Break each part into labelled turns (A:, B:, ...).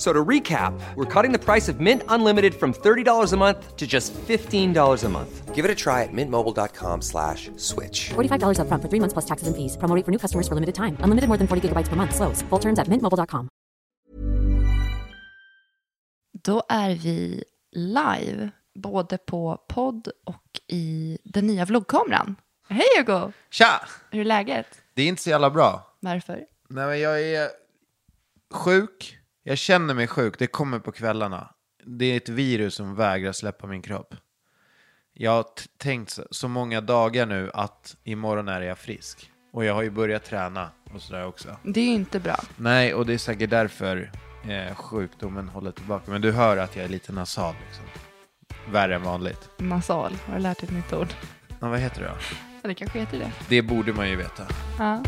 A: So to recap, we're cutting the price of Mint Unlimited from $30 a month to just $15 a month. Give it a try at mintmobile.com slash switch.
B: $45 up front for three months plus taxes and fees. Promote for new customers for limited time. Unlimited more than 40 gigabytes per month. Slows. Full terms at mintmobile.com.
C: Då är vi live, både på podd och i den nya vloggkameran. Hej Hugo!
D: Tja!
C: Hur är läget?
D: Det är inte så jävla bra.
C: Varför?
D: Nej, men jag är sjuk. Jag känner mig sjuk. Det kommer på kvällarna. Det är ett virus som vägrar släppa min kropp. Jag har t- tänkt så- så många dagar nu att imorgon är jag frisk. Och jag har ju börjat träna och sådär också.
C: Det är ju inte bra.
D: Nej, och det är säkert därför eh, sjukdomen håller tillbaka. Men du hör att jag är lite nasal liksom. Värre än vanligt.
C: Nasal, har du lärt dig ett nytt ord?
D: Men vad heter det då?
C: Ja, det kanske heter det.
D: Det borde man ju veta.
C: Ja.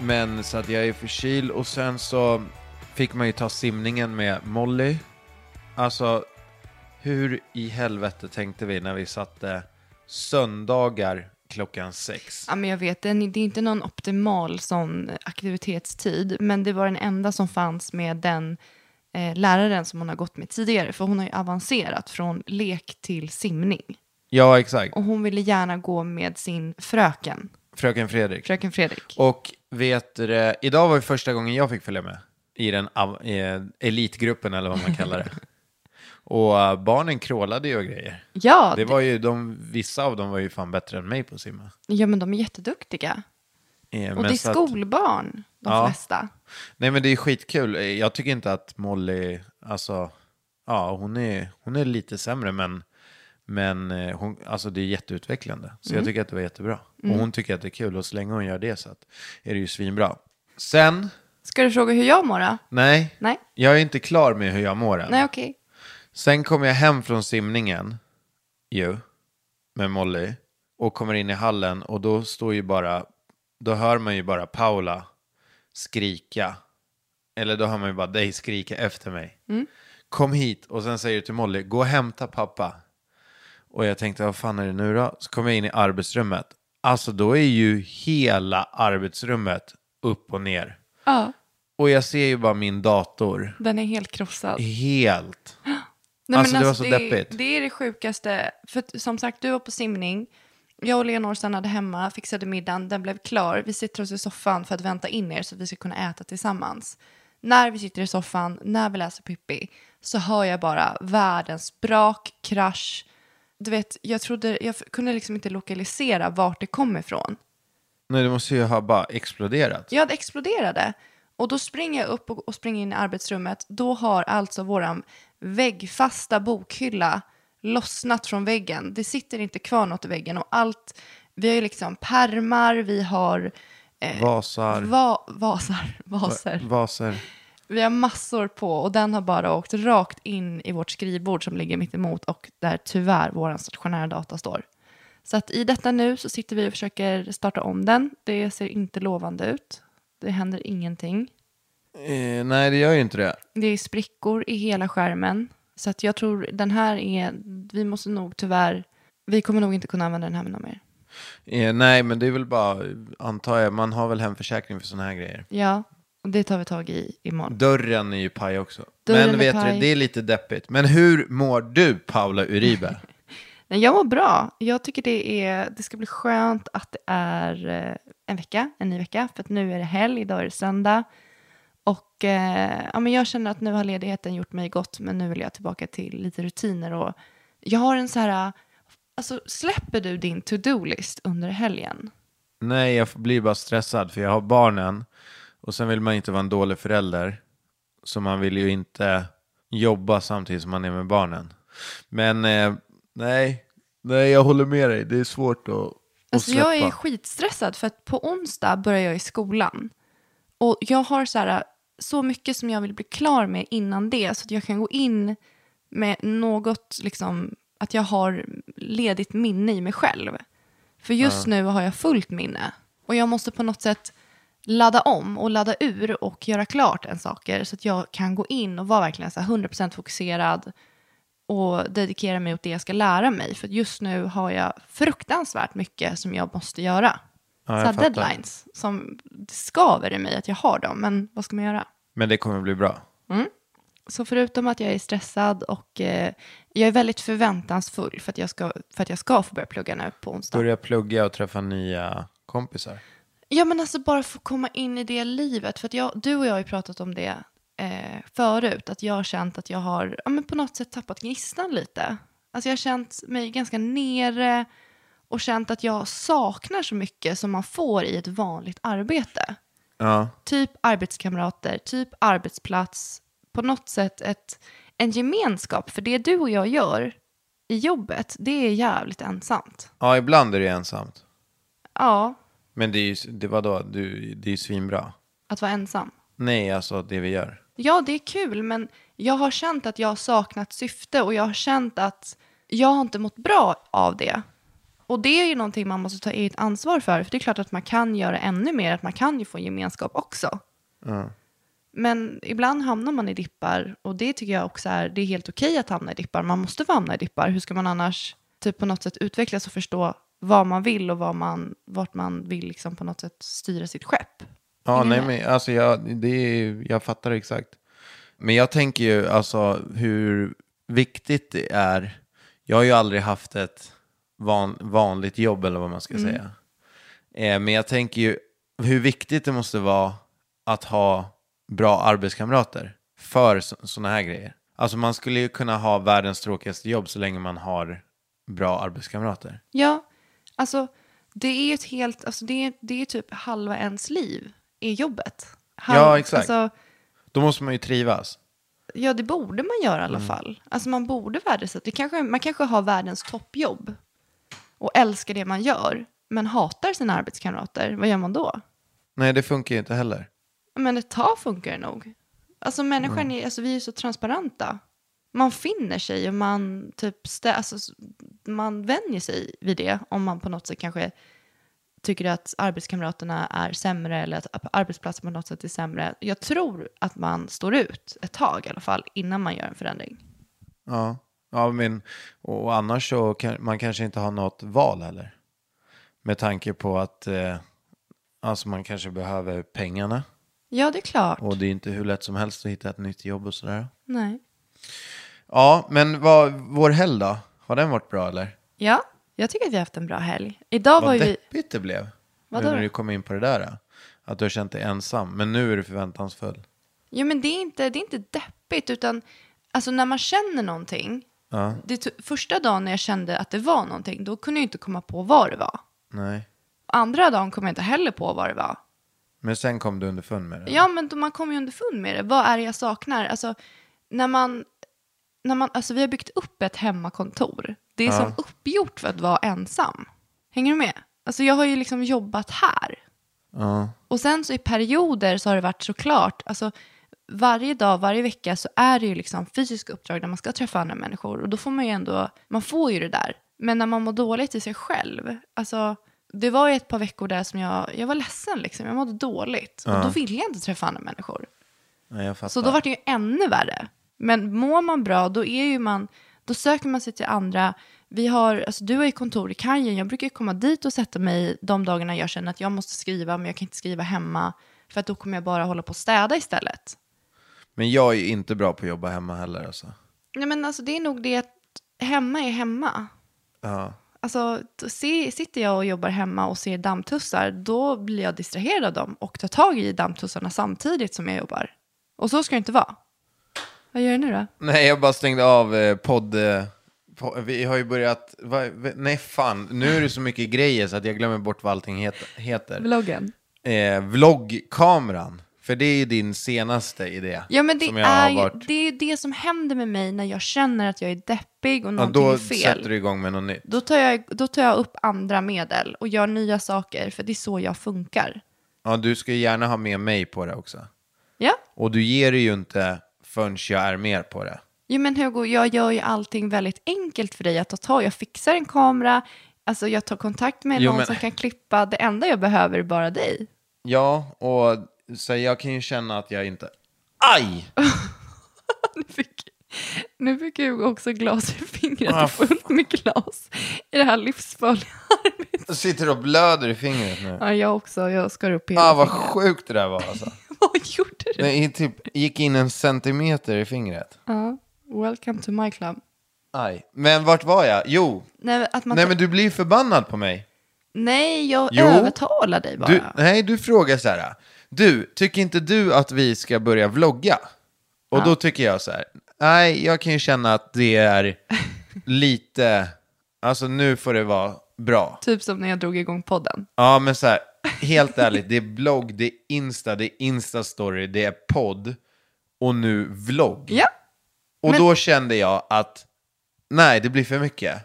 D: Men så att jag är förkyld och sen så fick man ju ta simningen med Molly. Alltså, hur i helvete tänkte vi när vi satte söndagar klockan sex?
C: ja, men jag vet, den- det är inte någon optimal sån aktivitetstid, men det var den enda som fanns med den eh, läraren som hon har gått med tidigare, för hon har ju avancerat från lek till simning.
D: Ja, exakt.
C: Och hon ville gärna gå med sin fröken,
D: Fröken Fredrik.
C: fröken Fredrik.
D: Och vet du det, idag var ju första gången jag fick följa med i den av, eh, elitgruppen eller vad man kallar det. och eh, barnen krålade ju och grejer.
C: Ja,
D: Det var ju de, vissa av dem var ju fan bättre än mig på att simma.
C: ja, men de är jätteduktiga.
D: Eh,
C: Och
D: men
C: det är
D: så att-
C: skolbarn, de
D: Ja.
C: flesta.
D: Nej men det är skitkul. Jag tycker inte att Molly, alltså, ja hon är, hon är lite sämre men, men eh, hon, alltså det är jätteutvecklande. Så jag tycker att det var jättebra. Och hon tycker att det är kul och så länge hon gör det så att, är det ju svinbra. Sen,
C: Ska du fråga hur jag mår då?
D: nej,
C: Nej.
D: jag är inte klar med hur jag mår än.
C: Nej, okej.
D: Sen kommer jag hem från simningen, ju, med Molly, och kommer in i hallen och då står ju bara, då hör man ju bara Paula skrika, eller då hör man ju bara dig skrika efter mig. Kom hit och sen säger du till Molly, gå och hämta pappa. Och jag tänkte, vad fan är det nu då? Så kom jag in i arbetsrummet. Alltså då är ju hela arbetsrummet upp och ner.
C: Ja,
D: Och jag ser ju bara min dator
C: den är helt krossad.
D: helt
C: Nej,
D: Alltså,
C: men
D: det var så
C: det,
D: deppigt.
C: Det är det sjukaste. För att, som sagt, du var på simning. Jag och Leonor stannade hemma, fixade middagen, den blev klar. Vi sitter oss i soffan för att vänta in er så att vi ska kunna äta tillsammans. När vi sitter i soffan, när vi läser Pippi, så hör jag bara världens brak, krasch. Du vet, jag trodde, jag f- kunde liksom inte lokalisera vart det kom ifrån.
D: Nej, det måste ju ha bara exploderat.
C: Ja, det exploderade. Och då springer jag upp och, och springer in i arbetsrummet. Då har alltså våran väggfasta bokhylla lossnat från väggen. Det sitter inte kvar något i väggen och allt. Vi har ju liksom pärmar, vi har eh,
D: Vasar.
C: va, vasar, vaser.
D: Vaser.
C: Vi har massor på och den har bara åkt rakt in i vårt skrivbord som ligger mitt emot och där tyvärr vår stationära data står. Så att i detta nu så sitter vi och försöker starta om den. Det ser inte lovande ut. Det händer ingenting.
D: Eh, nej, det gör ju inte det.
C: Det är sprickor i hela skärmen. Så att jag tror den här är, vi måste nog tyvärr, vi kommer nog inte kunna använda den här med någon mer.
D: Eh, nej, men det är väl bara, antar jag, man har väl hemförsäkring för sådana här grejer.
C: Ja, det tar vi tag i imorgon.
D: Dörren är ju paj också.
C: Dörren är
D: men vet
C: paj.
D: du, det är lite deppigt. Men hur mår du, Paula Uribe?
C: Nej, jag mår bra. Jag tycker det, är, det ska bli skönt att det är eh, en vecka, en ny vecka. För att nu är det helg, idag är det söndag. Och eh, ja, men jag känner att nu har ledigheten gjort mig gott, men nu vill jag tillbaka till lite rutiner. Och jag har en så här, eh, alltså, släpper du din to-do-list under helgen?
D: Nej, jag blir bara stressad för jag har barnen och sen vill man inte vara en dålig förälder. Så man vill ju inte jobba samtidigt som man är med barnen. Men eh, nej, nej, jag håller med dig. Det är svårt att, att
C: Alltså
D: släppa.
C: jag är skitstressad för att på onsdag börjar jag i skolan. Och jag har så, här, äh, så mycket som jag vill bli klar med innan det så att jag kan gå in med något, liksom, att jag har ledigt minne i mig själv. För just nu har jag fullt minne. Och jag måste på något sätt ladda om och ladda ur och göra klart en saker så att jag kan gå in och vara verkligen så här 100% fokuserad och dedikera mig åt det jag ska lära mig. För just nu har jag fruktansvärt mycket som jag måste göra.
D: Ja, jag
C: så här
D: fattar.
C: deadlines som det skaver i mig att jag har dem, men vad ska man göra?
D: Men det kommer bli bra.
C: Så förutom att jag är stressad och eh, jag är väldigt förväntansfull för att jag ska, för att jag ska få börja plugga nu på onsdag.
D: Börja plugga och träffa nya kompisar.
C: Ja men alltså bara få komma in i det livet. För att jag, du och jag har ju pratat om det eh, förut. Att jag har känt att jag har ja, men på något sätt tappat gnistan lite. Alltså jag har känt mig ganska nere och känt att jag saknar så mycket som man får i ett vanligt arbete.
D: Ja,
C: Typ arbetskamrater, typ arbetsplats. På något sätt ett, en gemenskap. För det du och jag gör i jobbet, det är jävligt ensamt.
D: ja ibland är det ensamt.
C: Ja,
D: Men det är ju, det, vadå, du, det är ju svinbra.
C: att vara ensam.
D: Nej, alltså det vi gör.
C: Ja, det är kul, men jag har känt att jag har saknat syfte och jag har känt att jag har inte mått bra av det. Och det är ju någonting man måste ta eget ansvar för, för det är klart att man kan göra ännu mer, att man kan ju få gemenskap också. Men ibland hamnar man i dippar och det tycker jag också är, det är helt okej att hamna i dippar, man måste få hamna i dippar, hur ska man annars typ på något sätt utvecklas och förstå vad man vill och vad man, vart man vill liksom på något sätt styra sitt skepp?
D: Ja, nej, men alltså jag, det är, jag fattar exakt. Men jag tänker ju alltså hur viktigt det är. Jag har ju aldrig haft ett van, vanligt jobb eller vad man ska säga. Eh, men jag tänker ju hur viktigt det måste vara att ha bra arbetskamrater för sådana här grejer. Alltså man skulle ju kunna ha världens tråkigaste jobb så länge man har bra arbetskamrater.
C: Ja, alltså det är ju ett helt, alltså det är, det är typ halva ens liv är jobbet.
D: Ja, exakt.
C: Alltså,
D: Då måste man ju trivas.
C: ja, det borde man göra i
D: Mm.
C: alla fall. Alltså man borde värdesätta, det kanske, man kanske har världens toppjobb och älskar det man gör, men hatar sina arbetskamrater, vad gör man då?
D: Nej, det funkar ju inte heller.
C: Men ett tag funkar det nog. Alltså människan är, alltså vi är så transparenta. Man finner sig och man typ, stä, alltså, s- man vänjer sig vid det om man på något sätt kanske tycker att arbetskamraterna är sämre eller att ap- arbetsplatsen på något sätt är sämre. Jag tror att man står ut ett tag i alla fall innan man gör en förändring.
D: Ja, ja men, och och annars så kan, man kanske inte har något val heller. Med tanke på att eh, alltså man kanske behöver pengarna.
C: Ja, det är klart.
D: Och det är inte hur lätt som helst att hitta ett nytt jobb och sådär.
C: Nej.
D: Ja, men vad, vår helg då? Har den varit bra eller?
C: Ja, jag tycker att vi har haft en bra helg. Idag var
D: Vad
C: ju vi...
D: deppigt det blev.
C: Vadå
D: nu när
C: då?
D: du kom in på det där. eh, Att du har känt dig ensam. Men nu är du förväntansfull.
C: Jo, men det är inte, det är inte deppigt, utan alltså, när man känner någonting. Det to- första dagen när jag kände att det var någonting, då kunde jag inte komma på vad det var.
D: Nej.
C: Andra dagen kom jag inte heller på vad det var.
D: Men sen kom du underfund med det.
C: Ja, men då man kommer ju underfund med det. Vad är det jag saknar? Alltså, när man, när man, alltså, vi har byggt upp ett hemmakontor. Det är som uppgjort för att vara ensam. Hänger du med? Alltså, jag har ju liksom jobbat här.
D: Ja.
C: Och sen så i perioder så har det varit såklart, alltså varje dag, varje vecka så är det ju liksom fysiska uppdrag där man ska träffa andra människor och då får man ju ändå, man får ju det där. Men när man mår dåligt i sig själv, alltså det var ju ett par veckor där som jag, jag var ledsen liksom, jag mådde dåligt och då ville jag inte träffa andra människor.
D: Ja, jag fattar.
C: Så då var det ju ännu värre. Men mår man bra, då är ju man, då söker man sig till andra. Vi har, alltså du har ju kontor i kajen, jag brukar ju komma dit och sätta mig de dagarna jag känner att jag måste skriva, men jag kan inte skriva hemma, för att då kommer jag bara hålla på och städa istället.
D: Men jag är ju inte bra på att jobba hemma heller alltså.
C: Nej men alltså det är nog det att hemma är hemma.
D: Ja.
C: Alltså då se, sitter jag och jobbar hemma och ser dammtussar, då blir jag distraherad av dem och tar tag i dammtussarna samtidigt som jag jobbar. Och så ska det inte vara. Vad gör du nu då?
D: Nej, jag bara stängde av eh, podd, eh, På- Vi har ju börjat... Va, v- nej, fan. Nu är det så mycket grejer så att jag glömmer bort vad allting het, heter.
C: Vloggen.
D: Eh, vloggkameran. För det är ju din senaste idé.
C: Ja men det
D: som jag
C: är,
D: har
C: ju,
D: varit.
C: det är ju det som händer med mig när jag känner att jag är deppig och
D: ja,
C: någonting
D: då
C: är fel.
D: sätter du igång med något nytt.
C: Då, tar jag, då tar jag upp andra medel och gör nya saker för det är så jag funkar.
D: Ja, du ska ju gärna ha med mig på det också.
C: Ja,
D: Och du ger det ju inte förrän jag är med på det.
C: jo, men Hugo jag gör ju allting väldigt enkelt för dig att ta tag Jag fixar en kamera, alltså jag tar kontakt med
D: Jo,
C: någon
D: men-
C: som kan klippa. Det enda jag behöver är bara dig.
D: Ja, och så jag kan ju känna att jag inte... Aj!
C: Nu fick, nu fick Hugo också glas i fingret
D: Ah,
C: och fullt med glas i det här livsfarliga arbetet.
D: Jag sitter och blöder i fingret nu.
C: Ja, jag också, jag skar upp hela
D: Ah, vad
C: fingret.
D: sjukt det där var alltså.
C: Vad gjorde du?
D: Det är typ, gick in en centimeter i fingret.
C: Ja, welcome to my club.
D: Aj. Men vart var jag? Jo,
C: Nej, att man
D: nej men du blir ju förbannad på mig.
C: Nej, jag
D: Jo.
C: övertalar dig bara.
D: Du, nej, du frågar så här. Du, tycker inte du att vi ska börja vlogga? Och då tycker jag så här. Nej, jag kan ju känna att det är lite... Alltså nu får det vara bra.
C: Typ som när jag drog igång podden.
D: Ja, men så här, helt ärligt, det är blogg, det är Insta, det är Insta-story, det är podd och nu vlogg.
C: Ja,
D: och
C: men-
D: då kände jag att nej, det blir för mycket.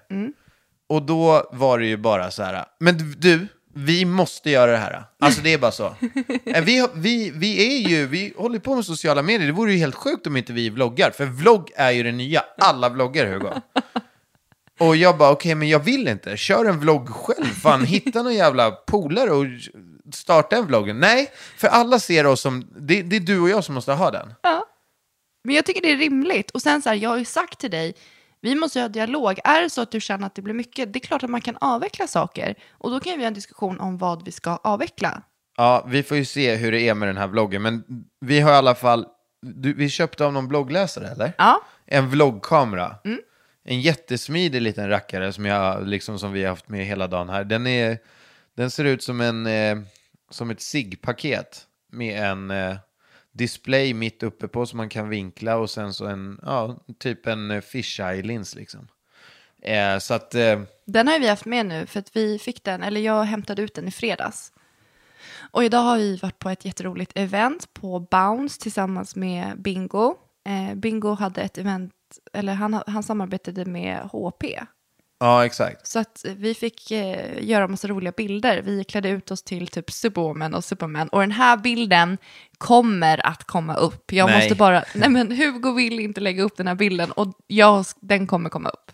D: Och då var det ju bara så här, men du, vi måste göra det här. Alltså det är bara så. Eh, Vi, har- vi, vi är ju, vi håller på med sociala medier, det vore ju helt sjukt om inte vi vloggar, för vlogg är ju det nya, alla vloggar Hugo. Och jag bara, okej, men jag vill inte. Kör en vlogg själv. Fan, hitta någon jävla polare och starta en vlogg. Nej, för alla ser oss som... Det, det är du och jag som måste ha den.
C: men jag tycker det är rimligt. Och sen så här, jag har ju sagt till dig, vi måste ju ha dialog. Är det så att du känner att det blir mycket, det är klart att man kan avveckla saker. Och då kan vi ha en diskussion om vad vi ska avveckla.
D: Ja, vi får ju se hur det är med den här vloggen. Men vi har i alla fall... Du, vi köpte av någon bloggläsare, eller?
C: Ja,
D: En vloggkamera. En jättesmidig liten rackare som, jag, liksom, som vi har haft med hela dagen här. Den, är, den ser ut som, en, eh, som ett SIG-paket med en eh, display mitt uppe på som man kan vinkla och sen så en, ja, typ en eh, fisheye-lins liksom. Eh, så att, eh,
C: den har ju vi haft med nu för att vi fick den, eller jag hämtade ut den i fredags. Och idag har vi varit på ett jätteroligt event på Bounce tillsammans med Bingo. Eh, Bingo hade ett event, eller han, han samarbetade med HP.
D: ja exakt.
C: Så att vi fick eh, göra massa roliga bilder. Vi klädde ut oss till typ Superwoman och Superman. Och den här bilden kommer att komma upp. Jag
D: Nej.
C: måste bara... Nej men Hugo vill inte lägga upp den här bilden och jag, den kommer komma upp.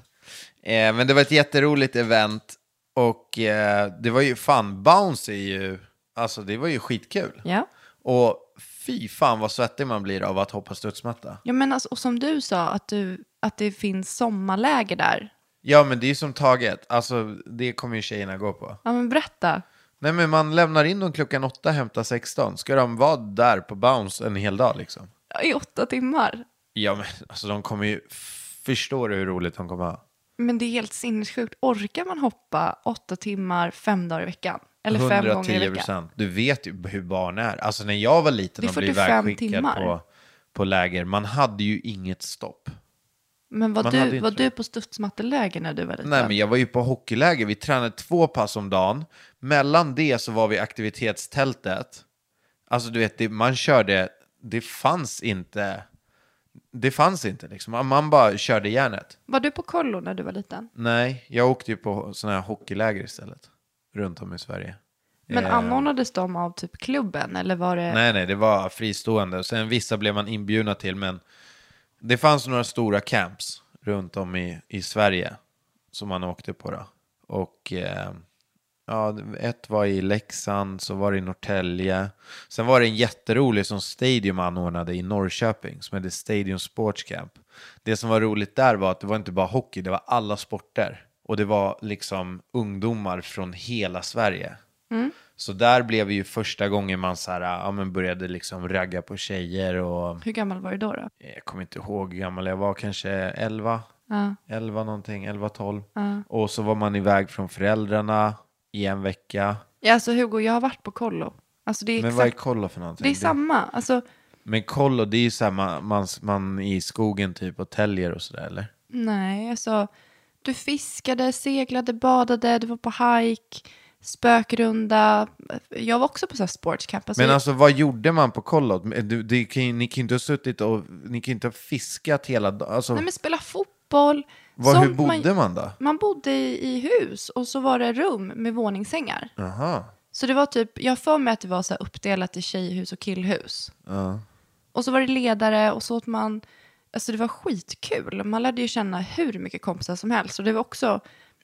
D: Eh, men det var ett jätteroligt event och eh, det var ju fan, Bounce är ju, alltså det var ju skitkul.
C: Ja.
D: Och fy fan vad svettig man blir av att hoppa studsmatta.
C: Ja men alltså, och som du sa, att, du, att det finns sommarläger där.
D: Ja, men det är ju som taget. Alltså, det kommer ju tjejerna gå på.
C: Ja men berätta.
D: Nej, men man lämnar in dem klockan åtta, hämtar 16. Ska de vara där på Bounce en hel dag liksom?
C: I åtta timmar.
D: Ja, men alltså de kommer ju... Förstår du hur roligt de kommer ha?
C: Men det är helt sinnessjukt. Orkar man hoppa åtta timmar fem dagar i veckan? Eller fem gånger i veckan?
D: Du vet ju hur barn är. Alltså när jag var liten
C: Det är
D: och blev
C: 45
D: ivägskickad
C: timmar.
D: på, på läger, man hade ju inget stopp.
C: Men var
D: Man hade
C: du,
D: ju
C: var
D: inte-
C: du på studsmatteläger när du var liten?
D: Nej, men jag var ju på hockeyläger. Vi tränade två pass om dagen. Mellan det så var vi i aktivitetstältet. Alltså, du vet, det, man körde... Det fanns inte... Det fanns inte, liksom. Man- Man bara körde järnet.
C: Var du på kollo när du var liten?
D: Nej, jag åkte ju på sådana här hockeyläger istället. Runt om i Sverige.
C: Men
D: Eh,
C: anordnades de av typ klubben eller var det?
D: Nej, nej, det var fristående. Sen vissa blev man inbjudna till, men det fanns några stora camps runt om i, i Sverige som man åkte på då. Och eh, ja, ett var i Leksand, så var det i Norrtälje. Sen var det en jätterolig som Stadium anordnade i Norrköping som hette Stadium Sports Camp. Det som var roligt där var att det var inte bara hockey, det var alla sporter. Och det var liksom ungdomar från hela Sverige.
C: Mm.
D: Så där blev ju första gången man så här, ja, men började liksom ragga på tjejer och eh,
C: Hur gammal var du då? då?
D: jag kommer inte ihåg hur gammal jag var, kanske 11, 11 någonting, 11, 12. Och så var man iväg från föräldrarna i en vecka.
C: Ja, alltså Hugo, jag har varit på kollo. Alltså det är
D: Men
C: exakt,
D: vad är kollo för någonting?
C: det är samma. Alltså,
D: Men kollo, det är ju så här, man, man, man är i skogen typ och täljer och sådär eller?
C: nej, alltså Du fiskade, seglade, badade, du var på hike, spökrunda. Jag var också på så här sportscamp. Alltså,
D: Men alltså vad gjorde man på kollot? Du, det kan ju- ni kan ju inte ha suttit och, ni kan ju inte ha fiskat hela dagen. Alltså,
C: nej, men spela fotboll.
D: vad, hur
C: Sånt
D: bodde man då?
C: Man bodde i, i hus och så var det rum med våningssängar.
D: Aha.
C: Så det var typ, jag har för mig att det var så här uppdelat i tjejhus och killhus. Och så var det ledare och så åt man, alltså det var skitkul. Man lärde ju känna hur mycket kompisar som helst. Och det var också,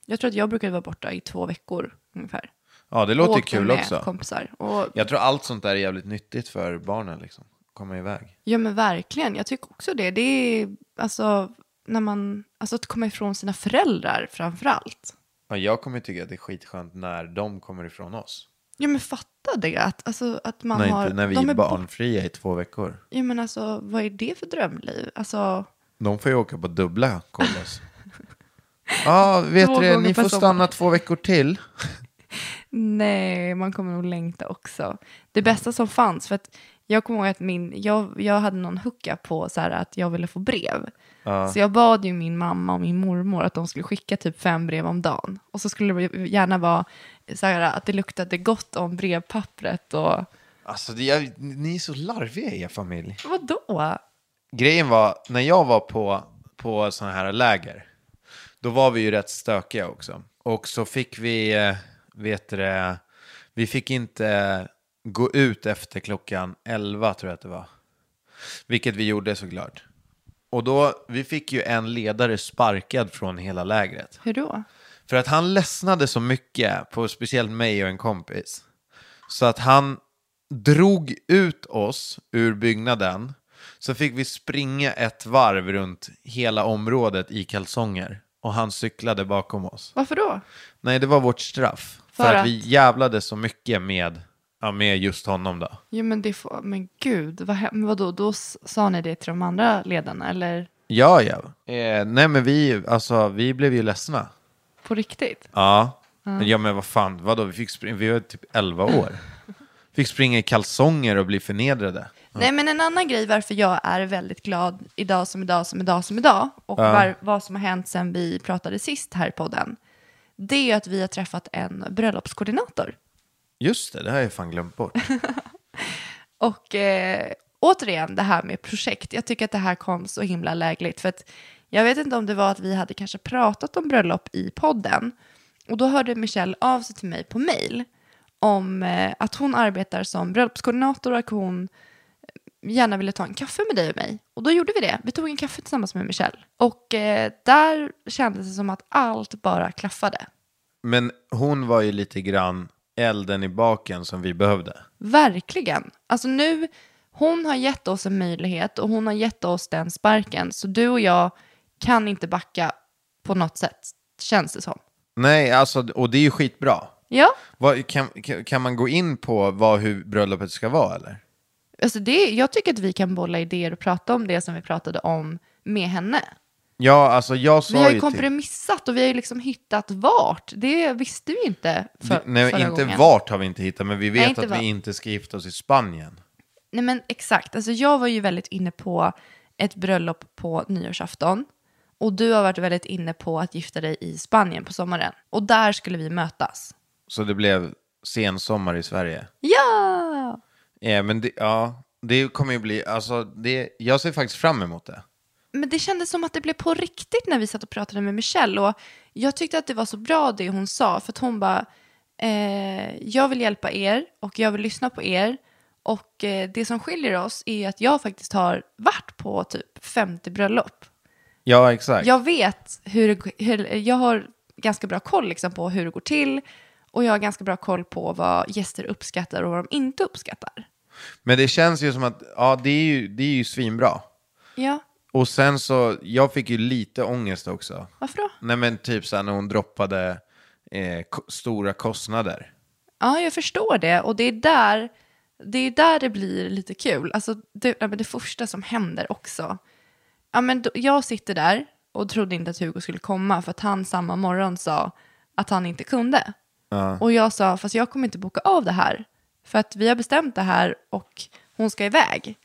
C: jag tror att jag brukade vara borta i två veckor ungefär.
D: Ja, det låter ju
C: Åkte
D: kul
C: med
D: också.
C: kompisar. Och,
D: Jag tror allt sånt där är jävligt nyttigt för barnen liksom. Komma iväg.
C: ja men verkligen, jag tycker också det. Det är alltså, när man, alltså att komma ifrån sina föräldrar framför allt.
D: Ja, jag kommer tycka att det är skitskönt när de kommer ifrån oss.
C: Ja men fatta det, att, alltså, att man
D: Nej,
C: har...
D: inte när vi
C: de
D: är
C: borta.
D: barnfria i två veckor.
C: Ja men alltså, vad är det för drömliv? Alltså...
D: De får ju åka på dubbla kollos. Ja, vet
C: Två
D: du det,
C: gånger
D: ni
C: per
D: får
C: sommar.
D: stanna två veckor till.
C: Nej, man kommer nog längta också. Det bästa som fanns, för att jag kommer ihåg att min, jag, jag hade någon hucka på så här att jag ville få brev. Så jag bad ju min mamma och min mormor att de skulle skicka typ fem brev om dagen. Och så skulle det gärna vara så här att det luktade gott om brevpappret och
D: Alltså, det är, ni är så larviga i er familj.
C: vadå?
D: Grejen var, när jag var på, på sådana här läger, då var vi ju rätt stökiga också. Och så fick vi, eh, vet du det, vi fick inte gå ut efter klockan 11 tror jag att det var. Vilket vi gjorde såklart. Och då, vi fick ju en ledare sparkad från hela lägret.
C: Hur då?
D: För att han ledsnade så mycket på speciellt mig och en kompis. Så att han drog ut oss ur byggnaden. Så fick vi springa ett varv runt hela området i kalsonger. Och han cyklade bakom oss.
C: Varför då?
D: Nej, det var vårt straff. För,
C: För
D: att,
C: att?
D: vi jävlade så mycket med, ja, med just honom då.
C: Jo men det får, men gud, vad, hem- vadå, då s- sa ni det till de andra ledarna eller
D: Ja, ja. Eh, nej, men vi, alltså, vi blev ju ledsna.
C: på riktigt?
D: Ja. Men Ja men vad fan, vadå, vi, fick springa, vi var typ 11 år. Fick springa i kalsonger och bli förnedrade.
C: Nej, men en annan grej varför jag är väldigt glad idag som idag som idag som idag och var, vad som har hänt sen vi pratade sist här i podden, det är ju att vi har träffat en bröllopskoordinator.
D: Just det, det här har jag fan glömt bort.
C: Och eh, återigen det här med projekt, jag tycker att det här kom så himla lägligt för att jag vet inte om det var att vi hade kanske pratat om bröllop i podden och då hörde Michelle av sig till mig på mail om eh, att hon arbetar som bröllopskoordinator och att hon eh, gärna ville ta en kaffe med dig och mig. Och då gjorde vi det. Vi tog en kaffe tillsammans med Michelle. Och eh, där kändes det som att allt bara klaffade.
D: Men hon var ju lite grann elden i baken som vi behövde.
C: Verkligen. Alltså nu, hon har gett oss en möjlighet och hon har gett oss den sparken. Så du och jag kan inte backa på något sätt, känns det som.
D: Nej, alltså, och det är ju skitbra.
C: Ja,
D: Vad, kan, kan- kan man gå in på vad, hur bröllopet ska vara eller?
C: alltså det, jag tycker att vi kan bolla idéer och prata om det som vi pratade om med henne.
D: Ja, alltså jag sa
C: Vi har ju
D: ju till...
C: kompromissat och vi har ju liksom hittat vart. Det visste vi inte för,
D: Det- Nej,
C: förra
D: inte
C: gången.
D: vart har vi inte hittat, men vi vet
C: inte
D: att
C: vart.
D: vi inte ska gifta oss i Spanien.
C: Nej men exakt, alltså jag var ju väldigt inne på ett bröllop på nyårsafton och du har varit väldigt inne på att gifta dig i Spanien på sommaren och där skulle vi mötas.
D: Så det blev sensommar i Sverige.
C: Ja!
D: Ja, men det, ja, det kommer ju bli, alltså, det, jag ser faktiskt fram emot det.
C: Men det kändes som att det blev på riktigt när vi satt och pratade med Michelle och jag tyckte att det var så bra det hon sa för att hon bara eh, jag vill hjälpa er och jag vill lyssna på er och eh, det som skiljer oss är att jag faktiskt har varit på typ 50 bröllop.
D: Ja, exakt.
C: Jag vet hur, hur, jag har ganska bra koll liksom på hur det går till och jag har ganska bra koll på vad gäster uppskattar och vad de inte uppskattar.
D: Men det känns ju som att, ja, det är ju, det är ju svinbra.
C: Ja,
D: Och sen så, jag fick ju lite ångest också.
C: varför då?
D: Nej men typ såhär när hon droppade eh, ko- stora kostnader.
C: Ja, jag förstår det och det är där det, är där det blir lite kul. Alltså det, ja, men det första som händer också. Ja, men då, jag sitter där och trodde inte att Hugo skulle komma för att han samma morgon sa att han inte kunde. Och jag sa, fast jag kommer inte boka av det här. För att vi har bestämt det här och hon ska iväg.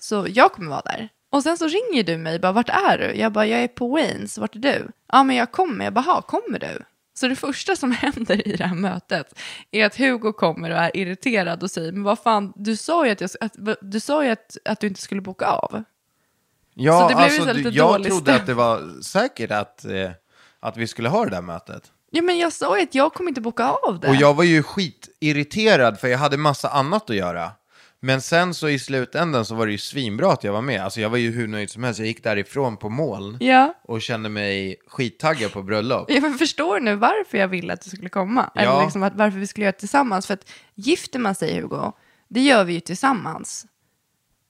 C: Så jag kommer vara där. Och sen så ringer du mig bara, vart är du? Jag bara, jag är på Waynes, vart är du? Ja, men jag kommer. Jag bara, "Ha, kommer du? Så det första som händer i det här mötet är att Hugo kommer och är irriterad och säger, men vad fan, du sa ju att, jag, att, du, sa ju att, att du inte skulle boka av.
D: Ja,
C: Så det blev ju
D: alltså,
C: så här lite
D: du- jag
C: dålig
D: trodde att det var säkert att, eh, att vi skulle ha det där mötet.
C: Ja, men jag sa ju att jag kommer inte boka av det.
D: Och jag var ju skitirriterad för jag hade massa annat att göra. Men sen så i slutändan så var det ju svinbra att jag var med. Alltså jag var ju hur nöjd som helst. Jag gick därifrån på moln
C: Ja.
D: och kände mig skittaggad på bröllop.
C: Ja, men förstår nu varför jag ville att du skulle komma.
D: Ja.
C: Eller liksom att varför vi skulle göra det tillsammans. För att gifter man sig, Hugo, det gör vi ju tillsammans.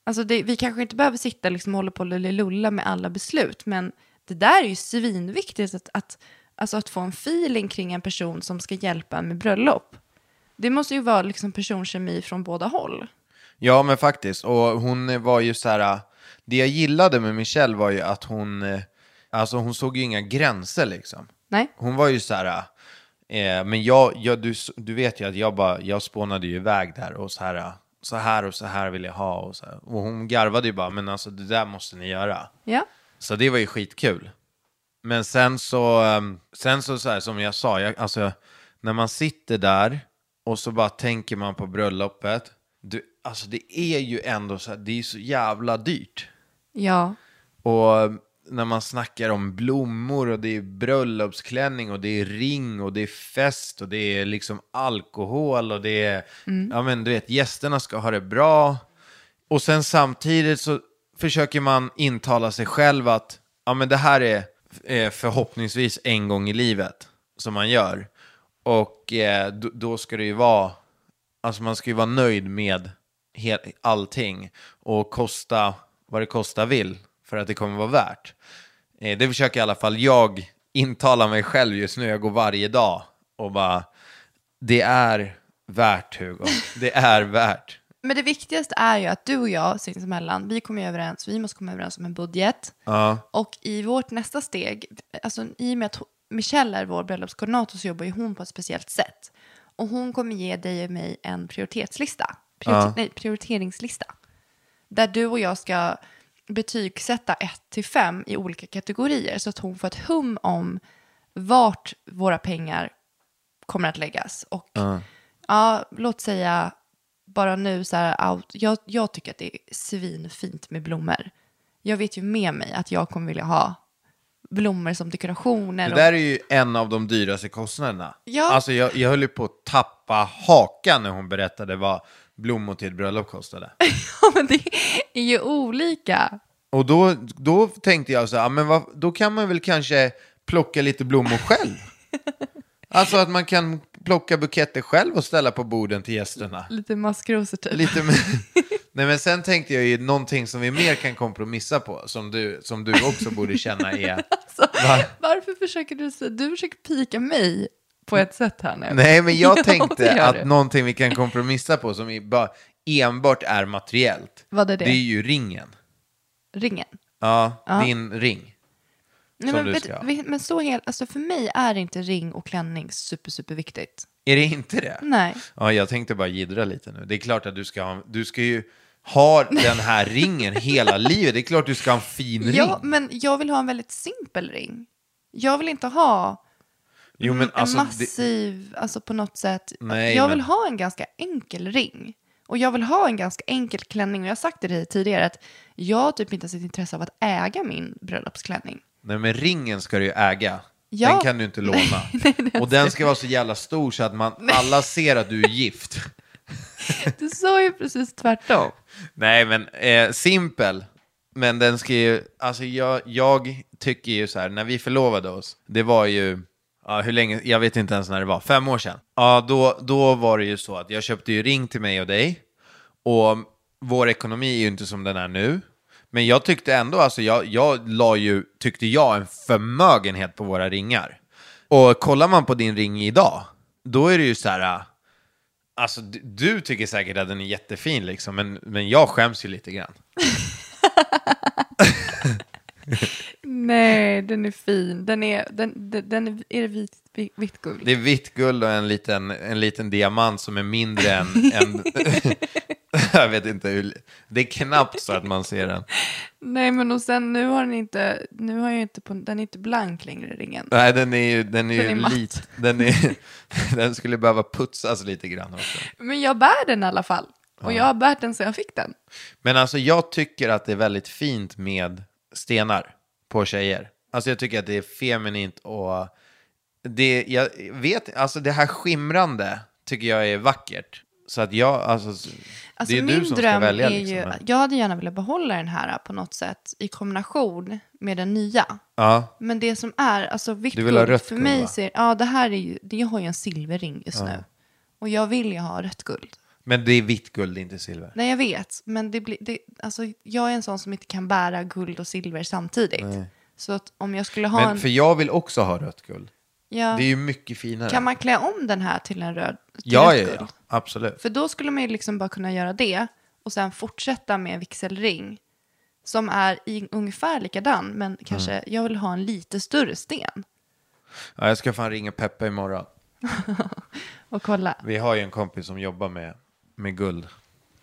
C: Alltså det, vi kanske inte behöver sitta liksom och hålla på och lulla med alla beslut. Men det där är ju svinviktigt att, att, alltså att få en feeling kring en person som ska hjälpa en med bröllop. Det måste ju vara liksom personkemi från båda håll.
D: Ja, men faktiskt. Och hon var ju så här... Det jag gillade med Michelle var ju att hon... eh, Alltså hon såg ju inga gränser liksom.
C: Nej?
D: Hon var ju så här... Eh, men jag, jag du, s- du vet ju att jag bara, jag spånade ju iväg där och så här, eh, så här och så här vill jag ha och så här. Och hon garvade ju bara, men alltså det där måste ni göra.
C: Ja?
D: Så det var ju skitkul. Men sen så, ehm, sen så, så här, som jag sa, jag, alltså, när man sitter där och så bara tänker man på bröllopet. Du, alltså det är ju ändå så här, det är så jävla dyrt.
C: Ja.
D: Och eh, när man snackar om blommor och det är bröllopsklänning och det är ring och det är fest och det är liksom alkohol och det är, ja men du vet, gästerna ska ha det bra. Och sen samtidigt så försöker man intala sig själv att, ja men det här är, är förhoppningsvis en gång i livet som man gör. Och eh, då, då ska det ju vara, alltså man ska ju vara nöjd med hel, allting och kosta vad det kosta vill för att det kommer vara värt. Eh, det försöker i alla fall jag intala mig själv just nu. Jag går varje dag och bara, det är värt Hugo, det är värt.
C: Men det viktigaste är ju att du och jag sinsemellan, vi kommer ju överens, vi måste komma överens om en budget.
D: Ja.
C: Och i vårt nästa steg, alltså i och med att ho- Michelle är vår bröllopskoordinator så jobbar ju hon på ett speciellt sätt. Och hon kommer ge dig och mig en prioritetslista, prioriter- nej, prioriteringslista. Där du och jag ska betygsätta 1-5 i olika kategorier så att hon får ett hum om vart våra pengar kommer att läggas. Och ja, låt säga bara nu så här, out, jag, jag tycker att det är svinfint med blommor. Jag vet ju med mig att jag kommer vilja ha blommor som dekorationer.
D: Det
C: och-
D: där är ju en av de dyraste kostnaderna.
C: Ja.
D: Alltså jag, jag höll ju på att tappa hakan när hon berättade vad blommor till ett bröllop kostade.
C: Ja, men det är ju olika.
D: Och då, då tänkte jag så här, "Ah, men vad, då kan man väl kanske plocka lite blommor själv. alltså att man kan plocka buketter själv och ställa på borden till gästerna.
C: Lite maskrosor typ.
D: Lite med... Nej men sen tänkte jag ju någonting som vi mer kan kompromissa på, som du, som du också borde känna är...
C: Så, Varför försöker du säga, du försöker pika mig på ett sätt här nu.
D: Nej men
C: Ja,
D: jag
C: det gör
D: tänkte att
C: du.
D: någonting vi kan kompromissa på som i- bara enbart är materiellt.
C: Vad är det?
D: Det är ju ringen.
C: Ringen.
D: Ja, din ring.
C: Nej,
D: Som
C: men,
D: du
C: vet-
D: ska ha.
C: vet- men så helt, alltså för mig är inte ring och klänning super, super viktigt.
D: Är det inte det?
C: Nej.
D: Ja, jag tänkte bara jiddra lite nu. Det är klart att du ska ha, du ska ju ha den här ringen hela livet. Det är klart du ska ha en fin
C: Ja,
D: ring.
C: men jag vill ha en väldigt simpel ring. Jag vill inte ha
D: Jo, men
C: en
D: alltså, det,
C: massiv, alltså på något sätt.
D: Nej,
C: jag
D: men-
C: vill ha en ganska enkel ring. Och jag vill ha en ganska enkel klänning. Och jag har sagt till dig tidigare att jag har typ inte har sitt intresse av att äga min bröllopsklänning.
D: nej, men ringen ska du ju äga.
C: Ja.
D: Den kan du inte låna. Och den ska vara så jävla stor så att man, alla ser att du är gift.
C: Du sa ju precis tvärtom.
D: Nej, men eh, simpel. Men den ska ju, alltså jag, jag tycker ju så här, när vi förlovade oss, det var ju, ja hur länge, jag vet inte ens när det var, fem år sedan. Ja, då, då var det ju så att jag köpte ju ring till mig och dig, och vår ekonomi är ju inte som den är nu. Men jag tyckte ändå, alltså jag, jag la ju, tyckte jag, en förmögenhet på våra ringar. Och kollar man på din ring idag, då är det ju så här, äh, Alltså, du, du tycker säkert att den är jättefin, liksom, men, men jag skäms ju lite grann.
C: Nej, den är fin. Den är, den, den, den är, är det vitt, vitt, vitt guld?
D: Det är vitt guld och en liten, en liten diamant som är mindre än, än, jag vet inte hur... Det är knappt så att man ser den.
C: Nej, men och sen nu har den inte, nu har jag inte på, den är inte blank längre ringen.
D: Nej, den är ju, den är
C: Den
D: ju
C: är matt.
D: lit. Den, är, den skulle behöva putsas lite grann också.
C: Men jag bär den i alla fall. Och jag har bärt den så jag fick den.
D: Men alltså jag tycker att det är väldigt fint med stenar på tjejer. Alltså jag tycker att det är feminint och det, jag vet, alltså det här skimrande tycker jag är vackert. Så att jag, alltså,
C: Alltså
D: det är
C: min
D: du som
C: dröm
D: ska välja
C: är
D: liksom.
C: ju,
D: men-
C: jag hade gärna velat behålla den här på något sätt i kombination med den nya.
D: Ja,
C: Men det som är, alltså vitt
D: vill ha
C: guld,
D: rött
C: för
D: guld, va?
C: mig ser, ja det här är ju, det har ju en silverring just nu. Och jag vill ju ha rött guld.
D: men det är vitt guld, inte silver.
C: Nej jag vet, men det blir, det, alltså jag är en sån som inte kan bära guld och silver samtidigt. Så att om jag skulle ha
D: Men
C: en,
D: för jag vill också ha rött guld.
C: ja,
D: Det är ju mycket finare.
C: kan man klä om den här till en röd, till
D: ja,
C: rött
D: ja,
C: guld?
D: ja, absolut.
C: För då skulle man ju liksom bara kunna göra det och sen fortsätta med en vigselring som är i, ungefär likadan,
D: Mm.
C: men kanske jag vill ha en lite större sten
D: Ja, jag ska fan ringa Peppe imorgon.
C: och kolla.
D: Vi har ju en kompis som jobbar med, med guld.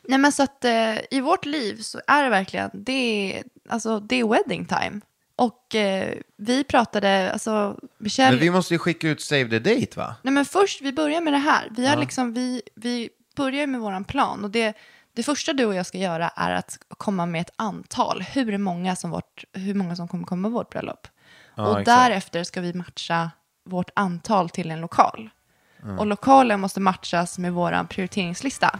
C: Nej men så att eh, i vårt liv så är det verkligen, det är, alltså, det är wedding time. Och eh, vi pratade, alltså Michelle,
D: Men vi måste ju skicka ut save the date va?
C: nej men först vi börjar med det här. Vi, har liksom, vi, vi börjar med våran plan och det, det första du och jag ska göra är att komma med ett antal, hur många som, vårt, hur många som kommer komma på vårt bröllop. och
D: exakt.
C: därefter ska vi matcha vårt antal till en lokal. Och lokalen måste matchas med våran prioriteringslista.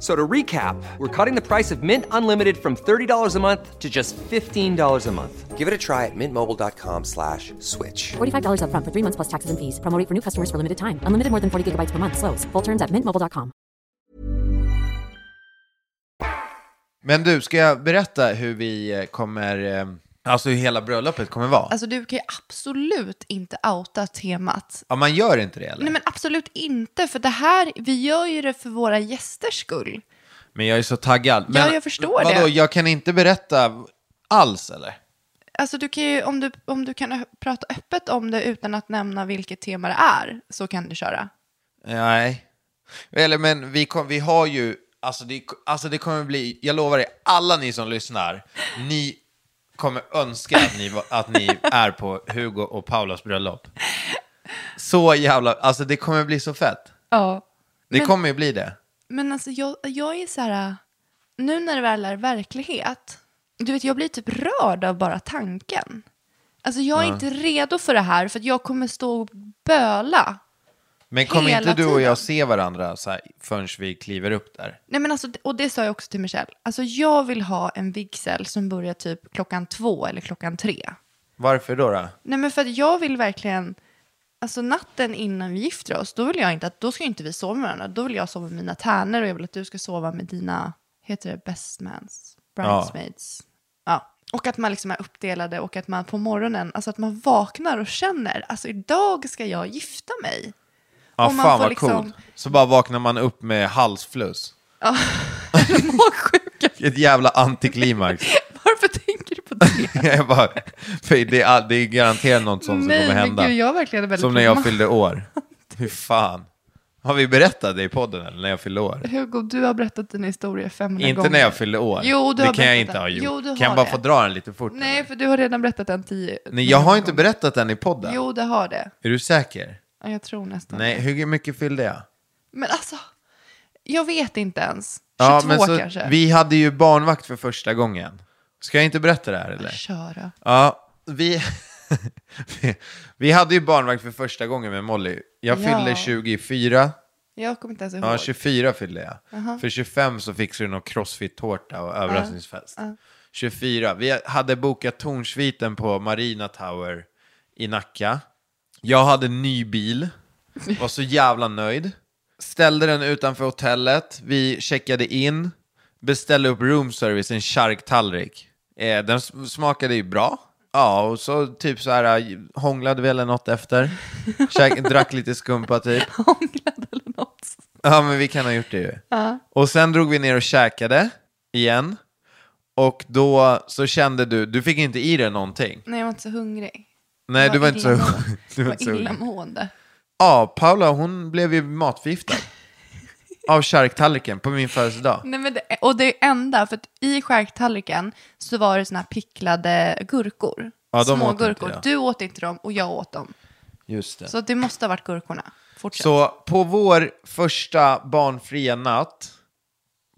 A: So to recap, we're cutting the price of Mint Unlimited from $30 a month to just $15 a month.
E: Give it a try at mintmobile.com slash switch.
B: $45 upfront for three months plus taxes and fees. Promo rate for new customers for limited time. Unlimited more than 40 gigabytes per month. Slows. Full terms at mintmobile.com.
D: Men du, ska jag berätta hur vi eh, kommer, eh, alltså hur hela bröllopet kommer vara?
C: Alltså du kan ju absolut inte outa temat
D: ja, man gör inte det eller?
C: Nej
D: men...
C: men absolut inte, för det här, vi gör ju det för våra gästers skull.
D: jag är så taggad. Men,
C: jag förstår
D: vadå,
C: det.
D: jag kan inte berätta alls eller?
C: Alltså du kan ju, om du, om du kan ö- prata öppet om det utan att nämna vilket tema det är, så kan du köra.
D: Nej. Eller men vi, kom, vi har ju, alltså det, alltså det kommer bli, jag lovar er, alla ni som lyssnar, ni kommer önska att ni, var- att ni är på Hugo och Paulas bröllop. Så jävla, alltså det kommer bli så fett.
C: Ja.
D: Det
C: Men-
D: kommer ju bli det.
C: Men alltså jag, jag är så här, äh, nu när det väl är verklighet, du vet jag blir typ rörd av bara tanken. Alltså jag är inte redo för det här, för att jag kommer stå och böla.
D: Men kommer
C: Hela
D: inte du och
C: tiden.
D: jag se varandra så här, förrän vi kliver upp där?
C: Nej men alltså, och det sa jag också till Michelle, alltså jag vill ha en vigsel som börjar typ klockan två eller klockan tre.
D: Varför då? Ah, då?
C: Nej men för att jag vill verkligen, alltså natten innan vi gifter oss, då vill jag inte att, då ska ju inte vi sova med varandra. Då vill jag sova med mina tärnor och jag vill att du ska sova med dina, heter det bestmans, bridesmaids. Ja. Och att man liksom är uppdelade och att man på morgonen, alltså att man vaknar och känner, alltså idag ska jag gifta mig.
D: Ja,
C: Och man
D: fan
C: får
D: vad
C: liksom-
D: coolt. Så bara vaknar man upp med halsfluss.
C: Magsjuka,
D: Ett jävla antiklimax.
C: varför tänker du på det?
D: jag bara, för det, är, all- det är garanterat något sånt som
C: Nej,
D: kommer
C: men
D: hända.
C: gud, jag är verkligen väldigt
D: som när jag
C: romantisk.
D: fyllde år. Hur fan? Har vi berättat det i podden eller? När jag fyllde år?
C: Hugo, du har berättat din historia 500
D: Inte
C: gånger.
D: när jag fyllde år.
C: Jo, du
D: det
C: har
D: kan jag
C: berättat
D: inte
C: den.
D: ha gjort.
C: Jo, du
D: kan
C: har
D: jag bara
C: det.
D: få dra den lite fort?
C: Nej,
D: eller?
C: för du har redan berättat den tio
D: Nej, jag har inte berättat den i podden.
C: Jo, det har det.
D: Är du säker?
C: Ja, jag tror nästan
D: Nej, hur mycket fyllde jag?
C: Men alltså, jag vet inte ens. 22
D: Ja, men så,
C: kanske.
D: Vi hade ju barnvakt för första gången. Ska jag inte berätta det här eller?
C: Köra.
D: Ja, vi, vi, vi hade ju barnvakt för första gången med Molly. Jag
C: Ja.
D: fyllde 24
C: Jag kommer inte ens ihåg.
D: Ja, 24 fyllde jag. För 25 så fixade du någon crossfit-tårta och överraskningsfest. 24, vi hade bokat Tornsviten på Marina Tower i Nacka. Jag hade ny bil, var så jävla nöjd. Ställde den utanför hotellet, vi checkade in, beställde upp room service, en charktallrik. Eh, den s- smakade ju bra. Ja, och så typ så här eh, hånglade vi eller något efter. Käk, drack lite skumpa typ.
C: Hånglad eller något.
D: Ja, men vi kan ha gjort det ju. Och sen drog vi ner och käkade igen. Och då så kände du, du fick inte i dig någonting.
C: Nej, jag var inte så hungrig.
D: Nej,
C: Jag
D: du var inte så...
C: illamående.
D: Du var
C: Jag
D: inte så
C: var
D: hungrig.
C: illamående.
D: Ja, Paula hon blev ju matförgiftad. av charktallriken på min födelsedag.
C: Nej, men det, och det enda, för att i charktallriken så var det såna här picklade gurkor.
D: Ja, de
C: Små
D: åt inte
C: gurkor.
D: jag.
C: Du åt inte dem och jag åt dem.
D: Just det.
C: Så det måste ha varit gurkorna. Fortsätt.
D: Så på vår första barnfria natt,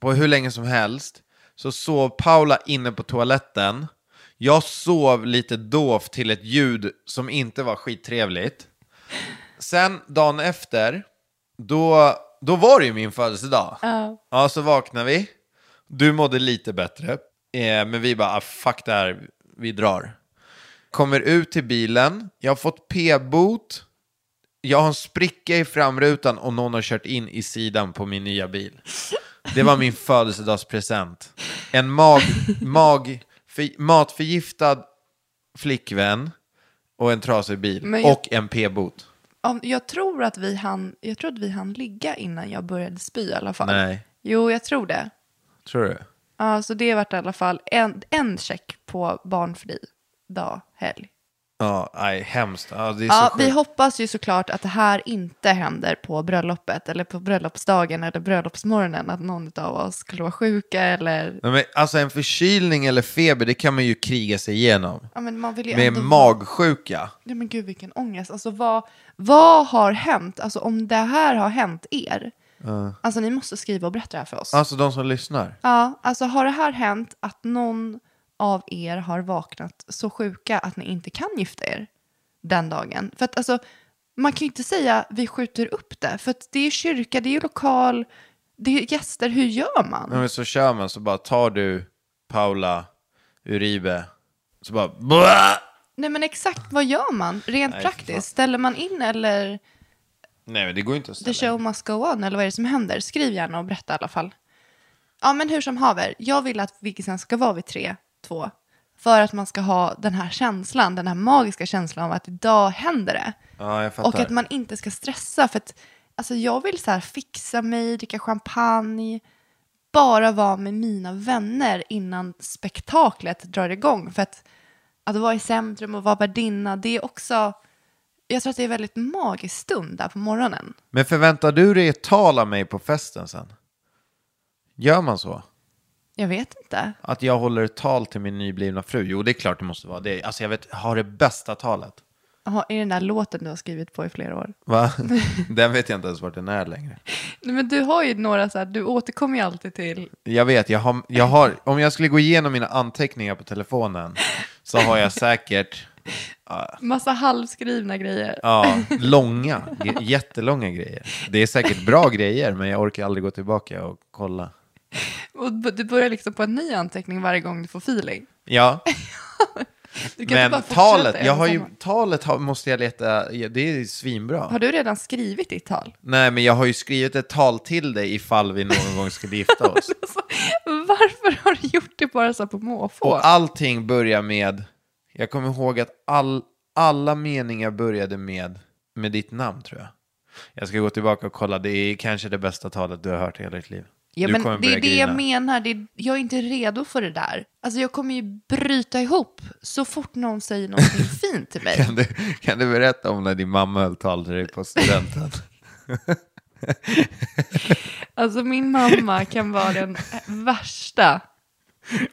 D: på hur länge som helst, så sov Paula inne på toaletten. Jag sov lite dovt till ett ljud som inte var skittrevligt. Sen dagen efter, då, då var det ju min födelsedag. Ja, så vaknade vi. Du mådde lite bättre. Eh, men vi bara, ah, fuck det här, vi drar. Kommer ut till bilen, jag har fått p-bot, jag har en spricka i framrutan och någon har kört in i sidan på min nya bil. Det var min födelsedagspresent. En mag, mag, för, matförgiftad flickvän och en trasig bil.
C: Men jag-
D: Och en p-bot.
C: Om- Jag tror att vi hann, jag tror att vi hann ligga innan jag började spy i alla fall.
D: Nej.
C: Jo, jag tror det.
D: Tror du?
C: Ja, så det vart i alla fall en, en check på barnfri dag, helg.
D: Ja, nej, hemskt. Ja, det är
C: Ja,
D: så
C: vi
D: sjukt.
C: hoppas ju såklart att det här inte händer på bröllopet eller på bröllopsdagen eller bröllopsmorgonen att någon av oss skulle vara sjuka eller...
D: Nej, men, alltså en förkylning eller feber, det kan man ju kriga sig igenom.
C: Ja, men man vill ju
D: Med
C: ändå...
D: magsjuka.
C: Ja, men gud vilken ångest. Alltså vad, vad har hänt? Alltså om det här har hänt er. Alltså ni måste skriva och berätta det här för oss.
D: Alltså de som lyssnar.
C: Ja, alltså har det här hänt att någon av er har vaknat så sjuka att ni inte kan gifta er den dagen? För att alltså, man kan ju inte säga vi skjuter upp det, för att det är kyrka, det är ju lokal, det är gäster, hur gör man?
D: Nej, men så kör man så bara tar du Paula Uribe, så bara... Bua!
C: Nej men exakt, vad gör man rent
D: Nej, för fan.
C: praktiskt? Ställer man in eller
D: Nej men det går inte att
C: the
D: ställa.
C: show must go on, eller vad är det som händer? Skriv gärna och berätta i alla fall. Ja men hur som haver, jag vill att vigseln ska vara vid tre, två. För att man ska ha den här känslan, den här magiska känslan av att idag händer det.
D: Ja, jag fattar.
C: Och att man inte ska stressa. För att, alltså, jag vill så här, fixa mig, dricka champagne, bara vara med mina vänner innan spektaklet drar igång. För att, att vara i centrum och vara värdinna, det är också... Jag tror att det är en väldigt magisk stund där på morgonen.
D: Men förväntar du dig ett tal av mig på festen sen? Gör man så?
C: Jag vet inte.
D: Att jag håller ett tal till min nyblivna fru? Jo, det är klart det måste vara det. Alltså jag vet, har det bästa talet.
C: Jaha, är det den där låten du har skrivit på i flera år?
D: Va? Den vet jag inte ens vart den är längre.
C: Nej, men du har ju några så här, du återkommer ju alltid till...
D: Jag vet, jag har, jag har, om jag skulle gå igenom mina anteckningar på telefonen så har jag säkert
C: Massa halvskrivna grejer.
D: ja, långa, ge- jättelånga grejer. Det är säkert bra grejer, men jag orkar aldrig gå tillbaka och kolla.
C: Och b- du börjar liksom på en ny anteckning varje gång du får feeling.
D: Ja,
C: Du kan inte bara
D: men
C: fortsätta
D: talet, jag
C: göra
D: har ju,
C: samma.
D: talet har, måste jag leta, ja, det är svinbra.
C: Har du redan skrivit ditt tal?
D: Nej, men jag har ju skrivit ett tal till dig ifall vi någon gång skulle gifta oss.
C: Alltså, varför har du gjort det bara så här på måfå?
D: Och allting börjar med, jag kommer ihåg att all, alla meningar började med, med ditt namn tror jag. Jag ska gå tillbaka och kolla, det är kanske det bästa talet du har hört i hela ditt liv.
C: ja,
D: du
C: men
D: kommer
C: det
D: börja
C: är det jag
D: grina.
C: menar, det är, jag är inte redo för det där. Alltså jag kommer ju bryta ihop så fort någon säger någonting fint till mig.
D: Kan du, kan du berätta om när din mamma höll tal till dig på studenten?
C: Alltså min mamma kan vara den värsta.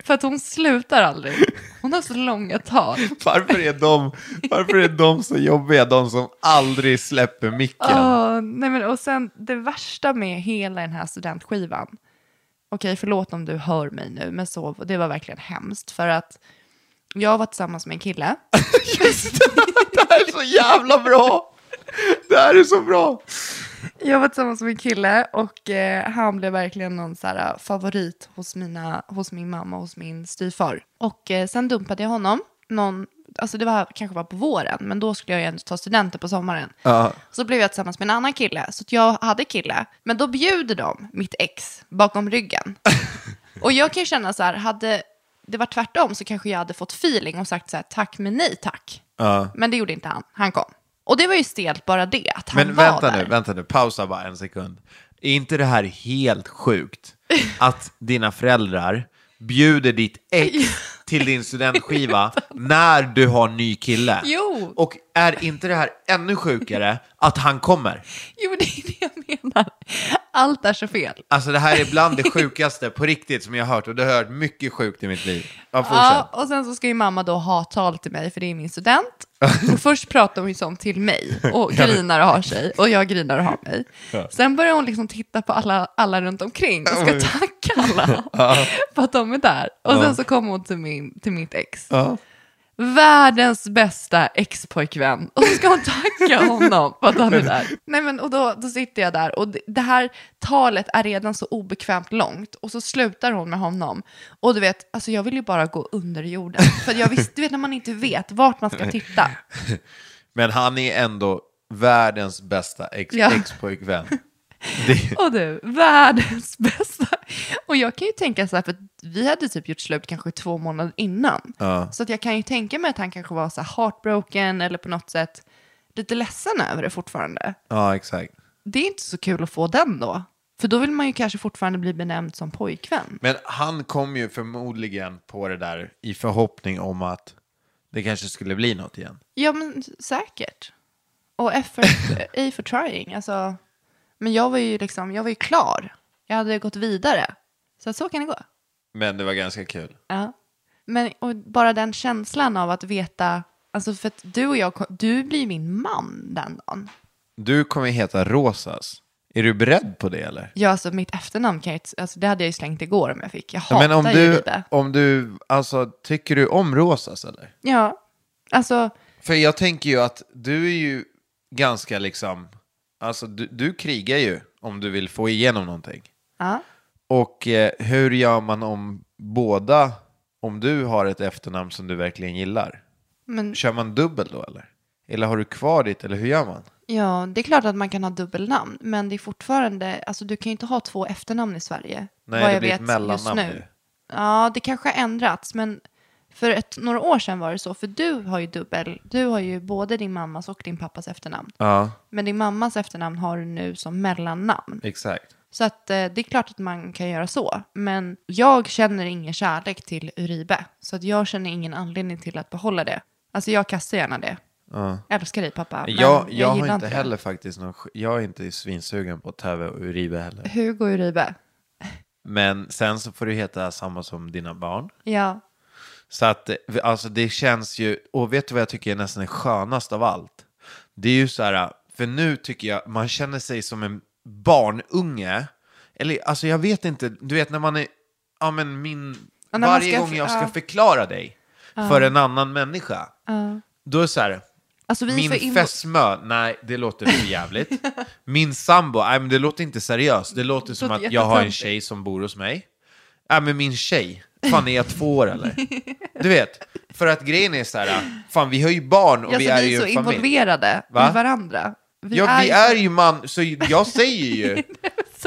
C: För att hon slutar aldrig. Hon har så långa tal.
D: varför, är de, varför är de så jobbiga, de som aldrig släpper micken?
C: Åh, nej men, och sen det värsta med hela den här studentskivan. Okej, förlåt om du hör mig nu, men så, det var verkligen hemskt. För att jag var tillsammans med en kille.
D: Det här är så jävla bra! Det här är så bra!
C: Jag var tillsammans med en kille och eh, han blev verkligen någon så här, eh, favorit hos, mina, hos min mamma och hos min styvfar. Och eh, sen dumpade jag honom. Någon, alltså det var kanske var på våren, men då skulle jag ju ändå ta studenten på sommaren. Så blev jag tillsammans med en annan kille, så att jag hade kille. Men då bjuder de mitt ex bakom ryggen. Och jag kan ju känna så här, hade det varit tvärtom så kanske jag hade fått feeling och sagt så här, tack men nej tack. Men det gjorde inte han, han kom. Och det var ju stelt bara det, att han
D: Men
C: var
D: vänta
C: där.
D: nu, vänta nu, pausa bara en sekund. Är inte det här helt sjukt? Att dina föräldrar bjuder ditt ex till din studentskiva när du har ny kille.
C: Jo.
D: Och är inte det här ännu sjukare att han kommer?
C: Jo, men det är det jag menar. Allt är så fel.
D: Alltså det här är bland det sjukaste på riktigt som jag har hört och det har jag hört mycket sjukt i mitt liv. Ja,
C: Ja,
D: fortsätt.
C: och sen så ska ju mamma då ha tal till mig, för det är min student. Och först pratar hon ju sånt till mig och grinar och har sig och jag grinar och har mig. Sen börjar hon liksom titta på alla, alla runt omkring och ska tacka alla för att de är där. Och sen så kommer hon till, min, till mitt ex.
D: Ja.
C: Världens bästa ex-pojkvän. Och så ska hon tacka honom för att han är där. Nej men och då, då sitter jag där och det, det här talet är redan så obekvämt långt. Och så slutar hon med honom. Och du vet, alltså jag vill ju bara gå under jorden. För jag visste, du vet när man inte vet vart man ska titta.
D: Men han är ändå världens bästa ex-
C: Ja.
D: ex-pojkvän. Det-
C: Och du, världens bästa. Och jag kan ju tänka så här, för vi hade typ gjort slut kanske två månader innan. Så att jag kan ju tänka mig att han kanske var så här heartbroken eller på något sätt lite ledsen över det fortfarande.
D: Ja, exakt.
C: Det är inte så kul att få den då. För då vill man ju kanske fortfarande bli benämnd som pojkvän.
D: Men han kom ju förmodligen på det där i förhoppning om att det kanske skulle bli något igen.
C: Ja, men säkert. Och F for, A for trying. Alltså, men jag var ju liksom, jag var ju klar. Jag hade gått vidare. Så att så kan det gå.
D: Men det var ganska kul.
C: Ja. Men och bara den känslan av att veta, alltså för att du och jag, kom- du blir min man den dagen.
D: Du kommer heta Rosas. Är du beredd på det eller?
C: Ja, alltså mitt efternamn kan jag inte, alltså det hade jag ju slängt igår om jag fick. Jag
D: Ja,
C: hatar
D: men om
C: ju
D: du,
C: det.
D: om du, alltså tycker du om Rosas eller?
C: Ja, alltså,
D: För jag tänker ju att du är ju ganska liksom, alltså du, du krigar ju om du vill få igenom någonting.
C: ja.
D: Och eh, hur gör man om båda, om du har ett efternamn som du verkligen gillar?
C: Men
D: Kör man dubbel då eller? Eller har du kvar ditt, eller hur gör man?
C: ja, det är klart att man kan ha dubbelnamn, men det är fortfarande, alltså du kan ju inte ha två efternamn i Sverige.
D: Nej,
C: vad
D: det
C: jag
D: blir
C: vet
D: ett mellannamn
C: just
D: nu.
C: Ja, det kanske har ändrats, men för ett, några år sedan var det så, för du har ju dubbel, du har ju både din mammas och din pappas efternamn.
D: Ja,
C: Men din mammas efternamn har du nu som mellannamn.
D: exakt.
C: Så att eh, det är klart att man kan göra så. Men jag känner ingen kärlek till Uribe. Så att jag känner ingen anledning till att behålla det. Alltså jag kastar gärna det. Älskar dig pappa. men
D: Jag, jag, har
C: gillar
D: inte heller faktiskt någon, sk- jag är inte svinsugen på Teve och Uribe heller.
C: det. Hugo Uribe.
D: Men sen så får du heta samma som dina barn.
C: Ja.
D: Så att eh, alltså det känns ju, och vet du vad jag tycker är nästan skönast av allt? Det är ju så här, för nu tycker jag man känner sig som en barnunge. Eller alltså jag vet inte, du vet när man är, ja men min,
C: Ja, när man
D: varje
C: ska-
D: gång jag ska
C: ja.
D: förklara dig för en annan människa, då är det så här,
C: Alltså vi är
D: min
C: för invo-
D: fästmö, nej det låter för jävligt. Min sambo, nej men det låter inte seriöst. Det låter som
C: låter
D: att jag har en
C: jättetöntigt.
D: tjej som bor hos mig. Nej men min tjej, fan är jag två år eller? Du vet, för att grejen är så här, fan vi har ju barn och
C: Ja,
D: vi
C: så
D: är
C: vi
D: ju
C: är så
D: en familj.
C: involverade
D: Va?
C: i varandra. Vi
D: Ja, vi
C: ju-
D: är ju man, så jag säger ju,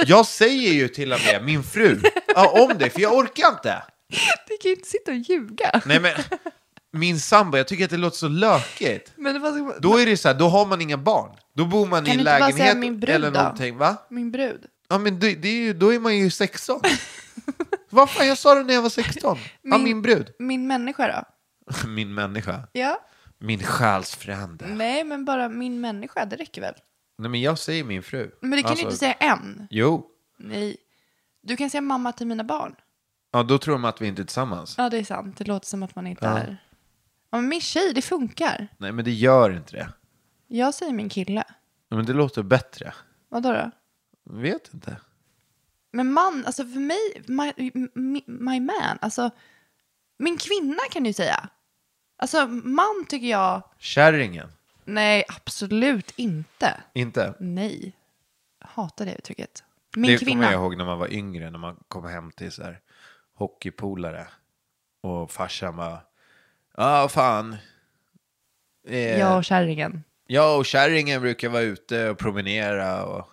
D: jag säger ju till och med min fru ja, om det, för jag orkar inte.
C: Vi kan ju inte sitta och ljuga.
D: Nej men, min sambo, jag tycker att det låter så lökigt.
C: Men vad ska man...
D: Då är det så här, då har man inga barn. Då bor man
C: Kan
D: i
C: du
D: en
C: inte bara säga
D: lägenhet
C: min brud
D: eller
C: då?
D: någonting, va?
C: Min brud.
D: Ja men det, det är ju, då är man ju 16. Vad fan, jag sa det när jag var 16. Min... Ja,
C: Min-
D: min brud.
C: Min människa då?
D: Min människa.
C: Ja.
D: Min själsfrände.
C: Nej, men bara min människa, det räcker väl?
D: Nej men jag säger min fru.
C: Men det kan
D: Alltså,
C: du inte säga än.
D: Jo.
C: Nej. Du kan säga mamma till mina barn.
D: Ja, då tror de att vi inte är tillsammans.
C: Ja, det är sant. Det låter som att man inte är... Ja, men min tjej, det funkar.
D: Nej men det gör inte det.
C: Jag säger min kille.
D: Men det låter bättre.
C: Vadå då?
D: Vet inte.
C: Men man, alltså för mig, my, my, my man, alltså min kvinna kan du ju säga. Alltså man tycker jag,
D: Kärringen.
C: nej absolut inte.
D: Inte.
C: Nej. hatar det uttrycket. Min
D: Det kommer
C: kvinna.
D: jag ihåg när man var yngre, när man kom hem till så här, hockeypolare. Och farsan var, ja fan. Eh,
C: Jag och kärringen.
D: Jag och kärringen brukar vara ute och promenera och...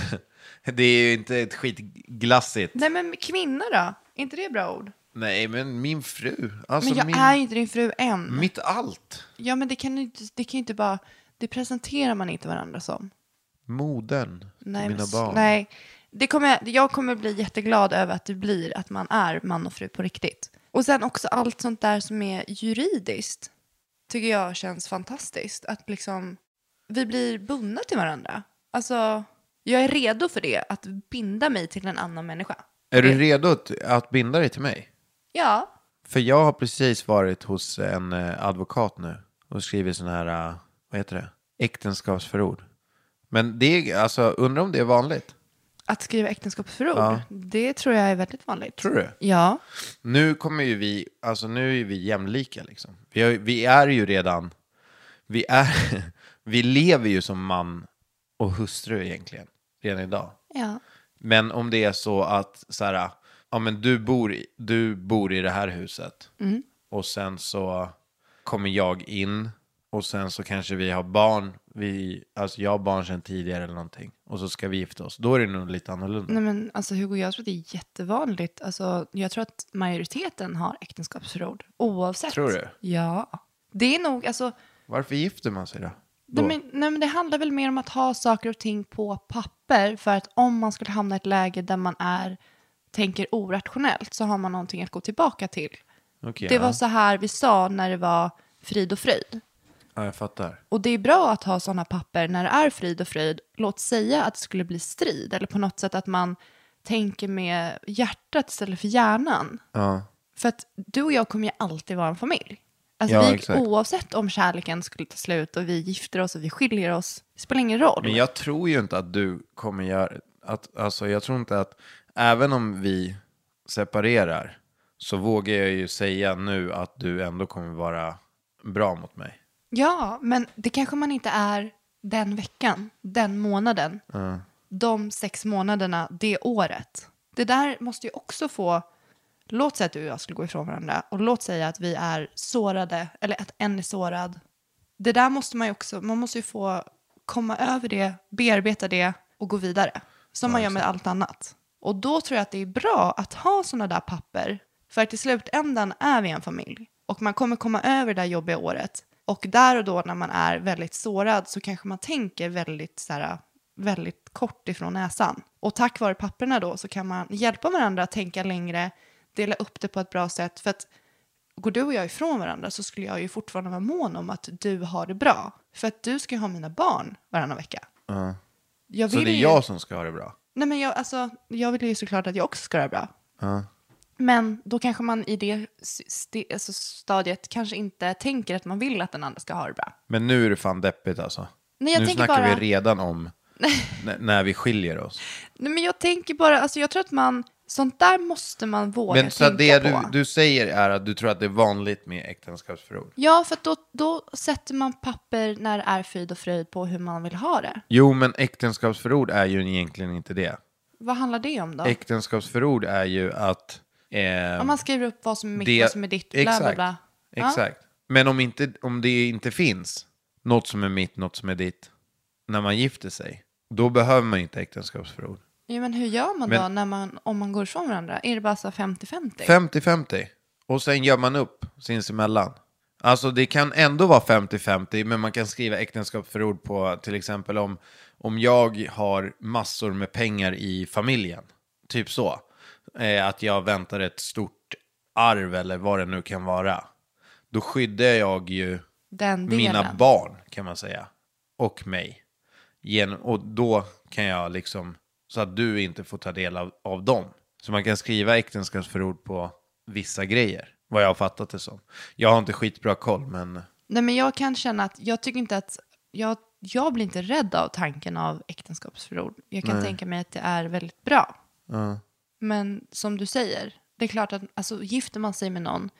D: det är ju inte ett skitglassigt.
C: Nej men kvinna då? Är inte det ett bra ord?
D: Nej, men min fru. Alltså
C: men jag
D: min,
C: är ju inte din fru än.
D: mitt allt.
C: Ja men det kan ju inte, det kan ju inte bara, det presenterar man inte varandra som.
D: Modern.
C: Nej,
D: mina
C: men s-
D: barn.
C: Nej, det kommer, jag- jag kommer bli jätteglad över att det blir att man är man och fru på riktigt. Och sen också allt sånt där som är juridiskt tycker jag känns fantastiskt. Att liksom, vi blir bundna till varandra. Alltså, jag är redo för det, att binda mig till en annan människa.
D: Är
C: Eh.
D: du redo att, att binda dig till mig?
C: Ja,
D: För jag har precis varit hos en eh, advokat nu och skrivit sån här, eh, vad heter det, äktenskapsförord. Men det är, alltså undrar om det är vanligt.
C: att skriva äktenskapsförord,
D: Ja.
C: det tror jag är väldigt vanligt.
D: Tror du?
C: Ja,
D: Nu kommer ju vi, alltså nu är vi jämlika liksom. Vi, har, vi är ju redan, vi är, vi lever ju som man och hustru egentligen, redan idag.
C: ja.
D: Men om det är så att så här, ja men du bor i, du bor i det här huset
C: Mm.
D: och sen så kommer jag in och sen så kanske vi har barn, vi, alltså jag har barn sedan tidigare eller någonting och så ska vi gifta oss, då är det nog lite annorlunda.
C: Nej men alltså Hugo, jag tror att det är jättevanligt. Alltså, jag tror att majoriteten har äktenskapsförord. Oavsett.
D: Tror du?
C: Ja. Det är nog, alltså.
D: Varför gifter man sig då?
C: Nej
D: Då?
C: men, nej men det handlar väl mer om att ha saker och ting på papper. För att om man skulle hamna i ett läge där man är, tänker orationellt så har man någonting att gå tillbaka till.
D: Okej,
C: Det
D: ja.
C: var så här vi sa när det var frid och fröjd.
D: ja, jag fattar.
C: Och det är bra att ha sådana papper när det är frid och fröjd. Låt säga att det skulle bli strid eller på något sätt att man tänker med hjärtat istället för hjärnan.
D: Ja.
C: För att du och jag kommer ju alltid vara en familj. Alltså
D: Ja,
C: vi,
D: exakt.
C: oavsett om kärleken skulle ta slut och vi gifter oss och vi skiljer oss, det spelar ingen roll.
D: Men jag tror ju inte att du kommer göra, att, alltså jag tror inte att, även om vi separerar, så vågar jag ju säga nu att du ändå kommer vara bra mot mig.
C: Ja, men det kanske man inte är den veckan, den månaden, de sex månaderna, det året. Det där måste ju också få, låt säga att du och jag skulle gå ifrån varandra och låt säga att vi är sårade eller att en är sårad. Det där måste man ju också, man måste ju få komma över det, bearbeta det och gå vidare. Som man gör med allt annat. Och då tror jag att det är bra att ha sådana där papper. För att i slutändan är vi en familj. Och man kommer komma över det där jobbiga året. Och där och då när man är väldigt sårad så kanske man tänker väldigt, så här, väldigt kort ifrån näsan. Och tack vare papperna då så kan man hjälpa varandra att tänka längre, dela upp det på ett bra sätt. För att går du och jag ifrån varandra så skulle jag ju fortfarande vara mån om att du har det bra. För att du ska ju ha mina barn varannan vecka. Jag
D: Så
C: vill
D: det är
C: ju-
D: jag som ska ha det bra.
C: Nej, men jag, alltså, jag vill ju såklart att jag också ska göra bra. Men då kanske man i det s- st- alltså stadiet kanske inte tänker att man vill att den andra ska ha det bra.
D: Men nu är det fan deppigt alltså.
C: Nej, jag
D: nu
C: tänker
D: snackar
C: bara-
D: vi redan om n- när vi skiljer oss.
C: Nej, men jag tänker bara, alltså, jag tror att man, sånt där måste man våga
D: Men så att
C: tänka
D: det
C: på.
D: du, du säger är att du tror att det är vanligt med äktenskapsförord?
C: Ja, för att då, då sätter man papper när det är frid och fröjd på hur man vill ha det.
D: Jo, men äktenskapsförord är ju egentligen inte det.
C: Vad handlar det om då?
D: Äktenskapsförord är ju att... eh,
C: om man skriver upp vad som är mitt,
D: det-
C: vad som är ditt, bla bla
D: exakt,
C: bla. Ja.
D: Exakt. Men om, inte, om det inte finns något som är mitt, något som är ditt, när man gifter sig, då behöver man inte äktenskapsförord.
C: Ja, men hur gör man då
D: Men-
C: när man, om man går ifrån varandra? Är det bara så här 50-50?
D: 50-50. Och sen gör man upp sinsemellan. Alltså det kan ändå vara 50-50, men man kan skriva äktenskapsförord på till exempel om, om jag har massor med pengar i familjen. Typ så. Eh, att jag väntar ett stort arv eller vad det nu kan vara. Då skyddar jag ju
C: Den delen.
D: mina barn kan man säga. Och mig. Genom, och då kan jag liksom, så att du inte får ta del av, av dem. Så man kan skriva äktenskapsförord på vissa grejer. Vad jag har fattat det som. Jag har inte skitbra koll men
C: Nej, men jag kan känna att jag tycker inte att... Jag, jag blir inte rädd av tanken av äktenskapsförord. Jag kan tänka mig att det är väldigt bra. Men som du säger, det är klart att alltså, gifter man sig med någon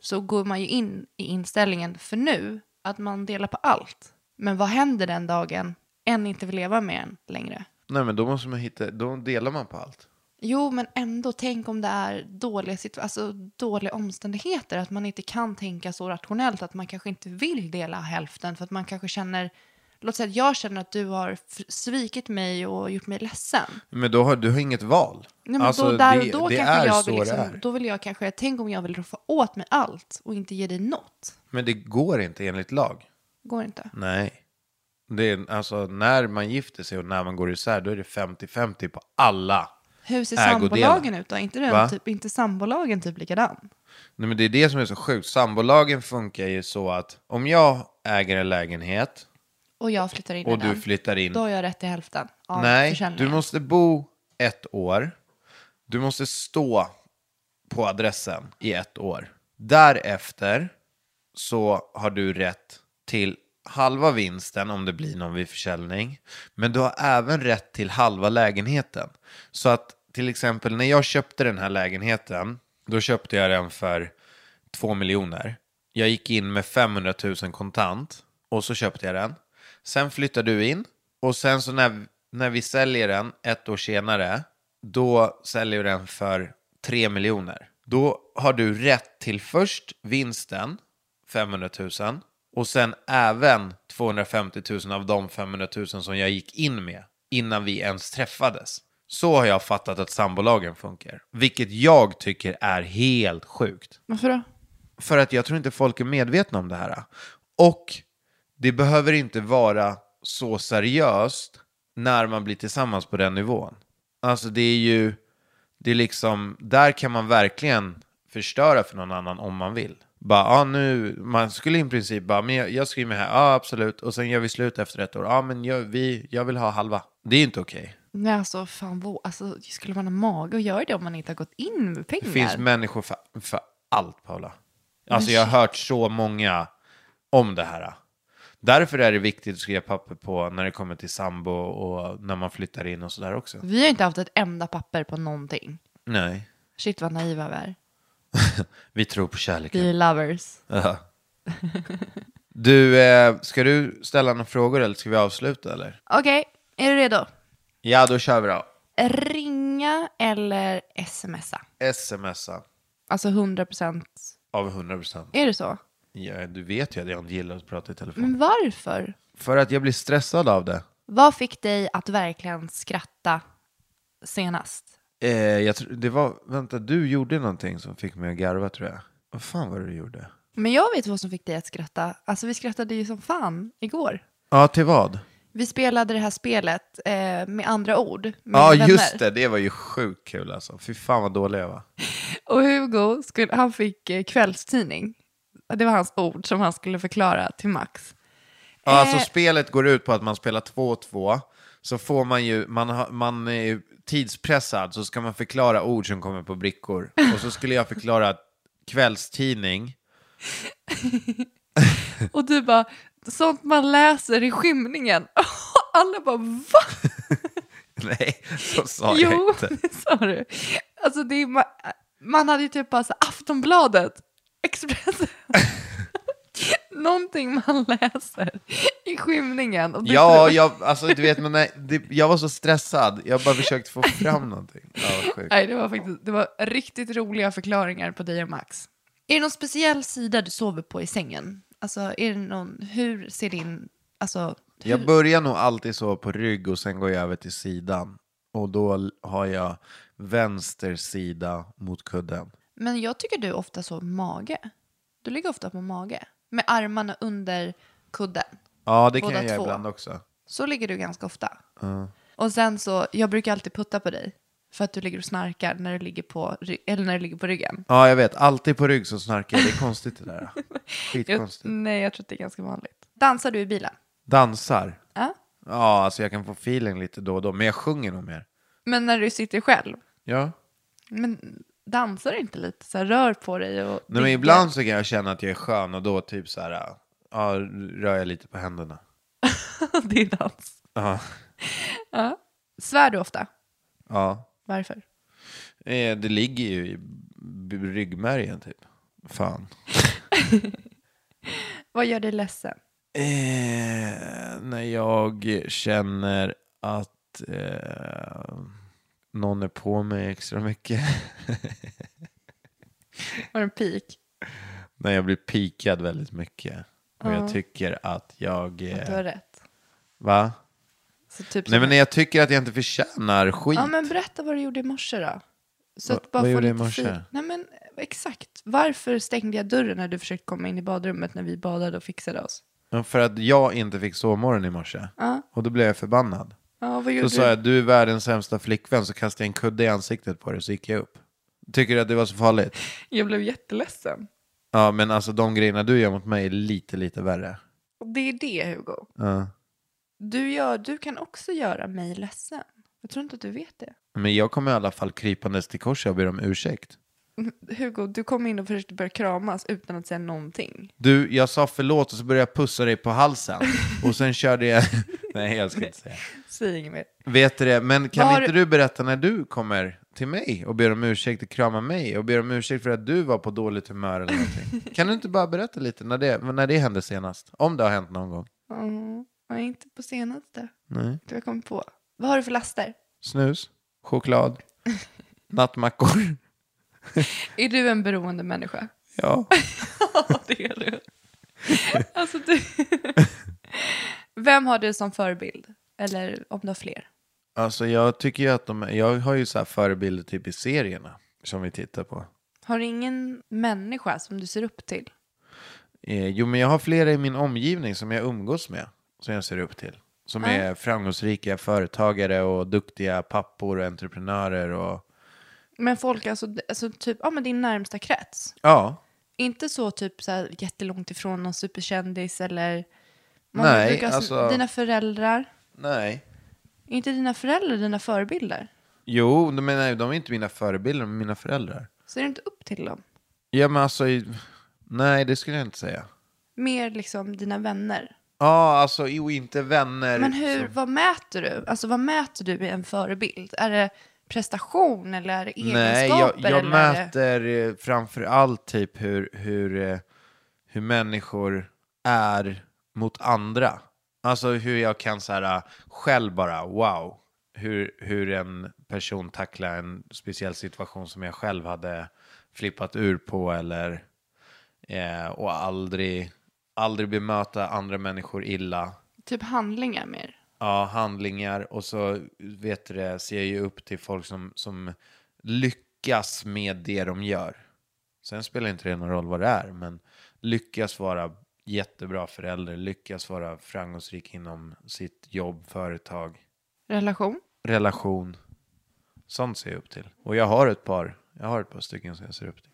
C: så går man ju in i inställningen för nu att man delar på allt. Men vad händer den dagen en inte vill leva med en längre?
D: Nej, men då måste man hitta, då delar man på allt.
C: Jo, men ändå, tänk om det är dåliga, situ- alltså, dåliga omständigheter. Att man inte kan tänka så rationellt. Att man kanske inte vill dela hälften. För att man kanske känner... Låt säga att jag känner att du har f- svikit mig och gjort mig ledsen.
D: Men då har du har inget val.
C: Nej, men
D: Alltså,
C: då, där och då kanske jag vill liksom, Då vill jag kanske... Tänk om jag vill roffa åt mig allt och inte ge dig något.
D: Men det går inte enligt lag.
C: Går inte.
D: Nej. Det är, alltså, när man gifter sig och när man går isär, då är det 50-50 på alla.
C: Hur ser
D: Ägodelar.
C: sambolagen ut då? Är inte,
D: Va?
C: den, typ, inte sambolagen typ likadan?
D: Nej, men det är det som är så sjukt. Sambolagen funkar ju så att om jag äger en lägenhet
C: Och jag flyttar in i
D: och du
C: den.
D: flyttar in.
C: Då har jag rätt till hälften av
D: Nej, du
C: försäljningen.
D: måste bo ett år. Du måste stå på adressen i ett år. Därefter så har du rätt till halva vinsten om det blir någon vid försäljning. Men du har även rätt till halva lägenheten. Så att till exempel när jag köpte den här lägenheten, då köpte jag den för 2 miljoner. Jag gick in med 500 000 kontant och så köpte jag den. Sen flyttar du in och sen så när, när vi säljer den ett år senare, då säljer vi den för 3 miljoner. Då har du rätt till först vinsten, 500 000, och sen även 250 000 av de 500 000 som jag gick in med innan vi ens träffades. Så har jag fattat att sambolagen funkar, vilket jag tycker är helt sjukt.
C: Varför då?
D: För att jag tror inte folk är medvetna om det här. Och det behöver inte vara så seriöst när man blir tillsammans på den nivån. Alltså det är ju, det är liksom, där kan man verkligen förstöra för någon annan om man vill. Bara, ah, nu, man skulle i princip bara, men jag, jag skriver mig här, ja ah, absolut, och sen gör vi slut efter ett år, ja ah, men jag, vi, jag vill ha halva. Det är inte okej.
C: Nej, alltså fan vad, alltså, skulle man ha mage att göra det om man inte har gått in med pengar?
D: Det finns människor för, för allt, Paula. Alltså jag har hört så många om det här. Därför är det viktigt att skriva papper på när det kommer till sambo och när man flyttar in och sådär också.
C: Vi har inte haft ett enda papper på någonting.
D: Nej,
C: Shit vad naiva vi är.
D: vi tror på
C: Vi är
D: kärleken.
C: lovers.
D: Ja. Du, eh, ska du ställa några frågor eller ska vi avsluta eller?
C: Okej, är du redo?
D: Ja, då kör vi då.
C: Ringa eller smsa?
D: Smsa
C: Alltså 100 procent.
D: av 100%.
C: Är det så?
D: Ja, du vet ju att jag inte gillar att prata i telefon.
C: Men varför?
D: För att jag blir stressad av det.
C: Vad fick dig att verkligen skratta senast?
D: Eh, jag tr- det var, vänta, du gjorde någonting som fick mig att garva tror jag. Vad fan var det du gjorde?
C: Men jag vet vad som fick dig att skratta. Alltså vi skrattade ju som fan igår.
D: Ja, till vad?
C: Vi spelade det här spelet eh, med andra ord. Med
D: Ja,
C: vänner.
D: just det. Det var ju sjukt kul alltså. Fy fan vad dålig jag var.
C: Och Hugo, skulle, han fick eh, kvällstidning. Det var hans ord som han skulle förklara till Max.
D: Ja, alltså
C: Eh.
D: spelet går ut på att man spelar 2-2. Så får man ju, man, har- man är ju tidspressad så ska man förklara ord som kommer på brickor. Och så skulle jag förklara kvällstidning.
C: Och du bara, sånt man läser i skymningen. Och alla bara, va?
D: Nej, så sa jag
C: Jo,
D: inte.
C: det sa du. Alltså det är, man, man hade ju typ bara så här, Aftonbladet, Expressen. Någonting man läser i skymningen. Och du
D: Ja,
C: tror-
D: jag, alltså, du vet, men nej, det, jag var så stressad. Jag bara försökte få fram någonting. Ja, vad sjukt.
C: Nej, det var faktiskt det var riktigt roliga förklaringar på dig och Max. Är det någon speciell sida du sover på i sängen? Alltså, är det någon, hur ser din, alltså, hur,
D: Jag börjar nog alltid så på rygg och sen går jag över till sidan. Och då l- har jag vänster sida mot kudden.
C: men jag tycker du ofta sover mage. Du ligger ofta på mage, med armarna under kudden.
D: Ja, det kan
C: Båda
D: jag göra
C: två.
D: ibland också.
C: Så ligger du ganska ofta. Och sen så, jag brukar alltid putta på dig. För att du ligger och snarkar när du ligger på, ry- eller när du ligger på ryggen.
D: Ja, jag vet. Alltid på rygg så snarkar jag. Det är konstigt det där.
C: Jag,
D: Skitkonstigt.
C: nej, jag tror att det är ganska vanligt. Dansar du i bilen?
D: Dansar.
C: Ja.
D: Ja, alltså jag kan få feeling lite då och då. Men jag sjunger nog mer.
C: Men när du sitter själv?
D: Ja.
C: Men dansar du inte lite? Så här, rör på dig och...
D: Nej, men ibland så kan jag känna att jag är skön och då typ så här, ja, rör jag lite på händerna.
C: det är dans.
D: Ja.
C: Svär du ofta?
D: ja.
C: Varför?
D: Eh, Det ligger ju i b- ryggmärgen typ. Fan.
C: Vad gör dig ledsen?
D: Eh, när jag känner att att eh, någon är på mig extra mycket.
C: Var det en pik?
D: Nej, jag blir pikad väldigt mycket. Och jag tycker att jag...
C: Att du har
D: Eh,
C: rätt.
D: va?
C: Så typ
D: Nej,
C: som-
D: men jag tycker att jag inte förtjänar skit.
C: Ja, men berätta vad du gjorde i morse då. Så
D: Va-
C: att bara
D: vad
C: få
D: gjorde jag
C: lite
D: i morse?
C: fil- Nej, men exakt. Varför stängde jag dörren när du försökte komma in i badrummet när vi badade och fixade oss?
D: Ja, För att jag inte fick sovmorgon i morse. Och då blev jag förbannad.
C: Ja, vad
D: Då
C: gjorde
D: sa
C: du?
D: jag, du är världens sämsta flickvän, så kastade jag en kudde i ansiktet på dig, så gick jag upp. Tycker du att det var så farligt?
C: Jag blev jätteledsen.
D: Ja, men alltså de grejerna du gör mot mig är lite, lite värre.
C: Och det är det, Hugo.
D: Ja.
C: Du, gör, du kan också göra mig ledsen. Jag tror inte att du vet det.
D: Men jag kommer i alla fall krypandes till korset och ber om ursäkt.
C: Hugo, du kom in och försökte börja kramas utan att säga någonting.
D: Du, jag sa förlåt och så började jag pussa dig på halsen. Och sen körde jag... Nej, jag ska inte säga.
C: Säg inget mer.
D: Vet du det, men kan
C: Var-
D: inte du berätta när du kommer till mig och ber om ursäkt och kramar mig och ber om ursäkt för att du var på dåligt humör eller någonting? kan du inte bara berätta lite när det, när det hände senast? Om det har hänt någon gång?
C: Mm, nej, inte på senaste.
D: Nej.
C: Du har kommit på. Vad har du för laster?
D: Snus? Choklad? Nattmackor?
C: Är du en beroende människa?
D: Ja.
C: Ja, det är du. Alltså, du... Vem har du som förebild? Eller om du har fler?
D: Alltså jag tycker ju att de, jag har ju så här förebilder typ i serierna som vi tittar på.
C: Har du ingen människa som du ser upp till?
D: Eh, jo, men jag har flera i min omgivning som jag umgås med, som jag ser upp till. Som är framgångsrika företagare och duktiga pappor och entreprenörer och...
C: Men folk, alltså, alltså typ, ja men din närmsta krets.
D: Ja,
C: Inte så typ så här, jättelångt ifrån någon superkändis eller... Man
D: Nej,
C: brukar ha som-
D: alltså-
C: Dina föräldrar.
D: nej.
C: Är inte dina föräldrar dina förebilder?
D: Jo, de- men nej, de är inte mina förebilder, men mina föräldrar.
C: Ser du inte upp till dem?
D: Ja, men alltså... i- Nej, det skulle jag inte säga.
C: Mer liksom dina vänner.
D: Ja, alltså, jo, inte vänner.
C: Men hur,
D: som-
C: vad mäter du? Alltså vad mäter du i en förebild? Är det prestation eller är det egenskaper?
D: Nej, jag, jag
C: eller är det-
D: mäter eh, framför allt typ hur, hur, eh, hur människor är mot andra. Alltså hur jag kan så här eh, själv bara, wow, hur, hur en person tacklar en speciell situation som jag själv hade flippat ur på eller eh, och aldrig, aldrig bemöta andra människor illa.
C: Typ handlingar mer.
D: Ja, handlingar och så vet du det, ser jag ju upp till folk som, som lyckas med det de gör. Sen spelar inte det någon roll vad det är, men lyckas vara jättebra förälder, lyckas vara framgångsrik inom sitt jobb, företag,
C: Relation.
D: relation. Sånt ser jag upp till. Och jag har ett par, jag har ett par stycken som jag ser upp till.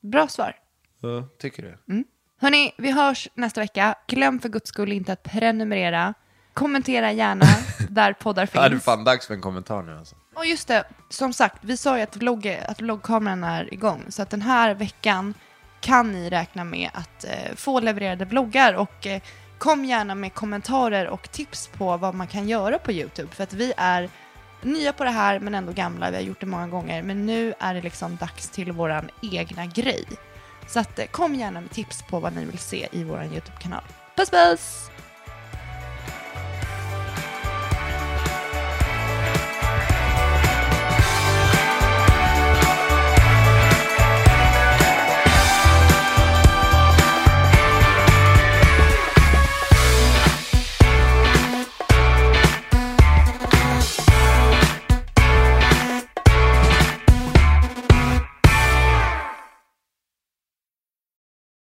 C: Bra svar.
D: Ja, Tycker du?
C: Hörni, vi hörs nästa vecka. Glöm för guds skull inte att prenumerera. Kommentera gärna där poddar
D: Ja, det är
C: finns.
D: fan dags för en kommentar nu alltså.
C: Och just det, som sagt, vi sa ju att, vlogg, att vloggkameran är igång. Så att den här veckan kan ni räkna med att eh, få levererade vloggar. Och eh, kom gärna med kommentarer och tips på vad man kan göra på YouTube. För att vi är nya på det här men ändå gamla. Vi har gjort det många gånger. Men nu är det liksom dags till våran egna grej. Så att, eh, kom gärna med tips på vad ni vill se i våran YouTube-kanal. Puss puss!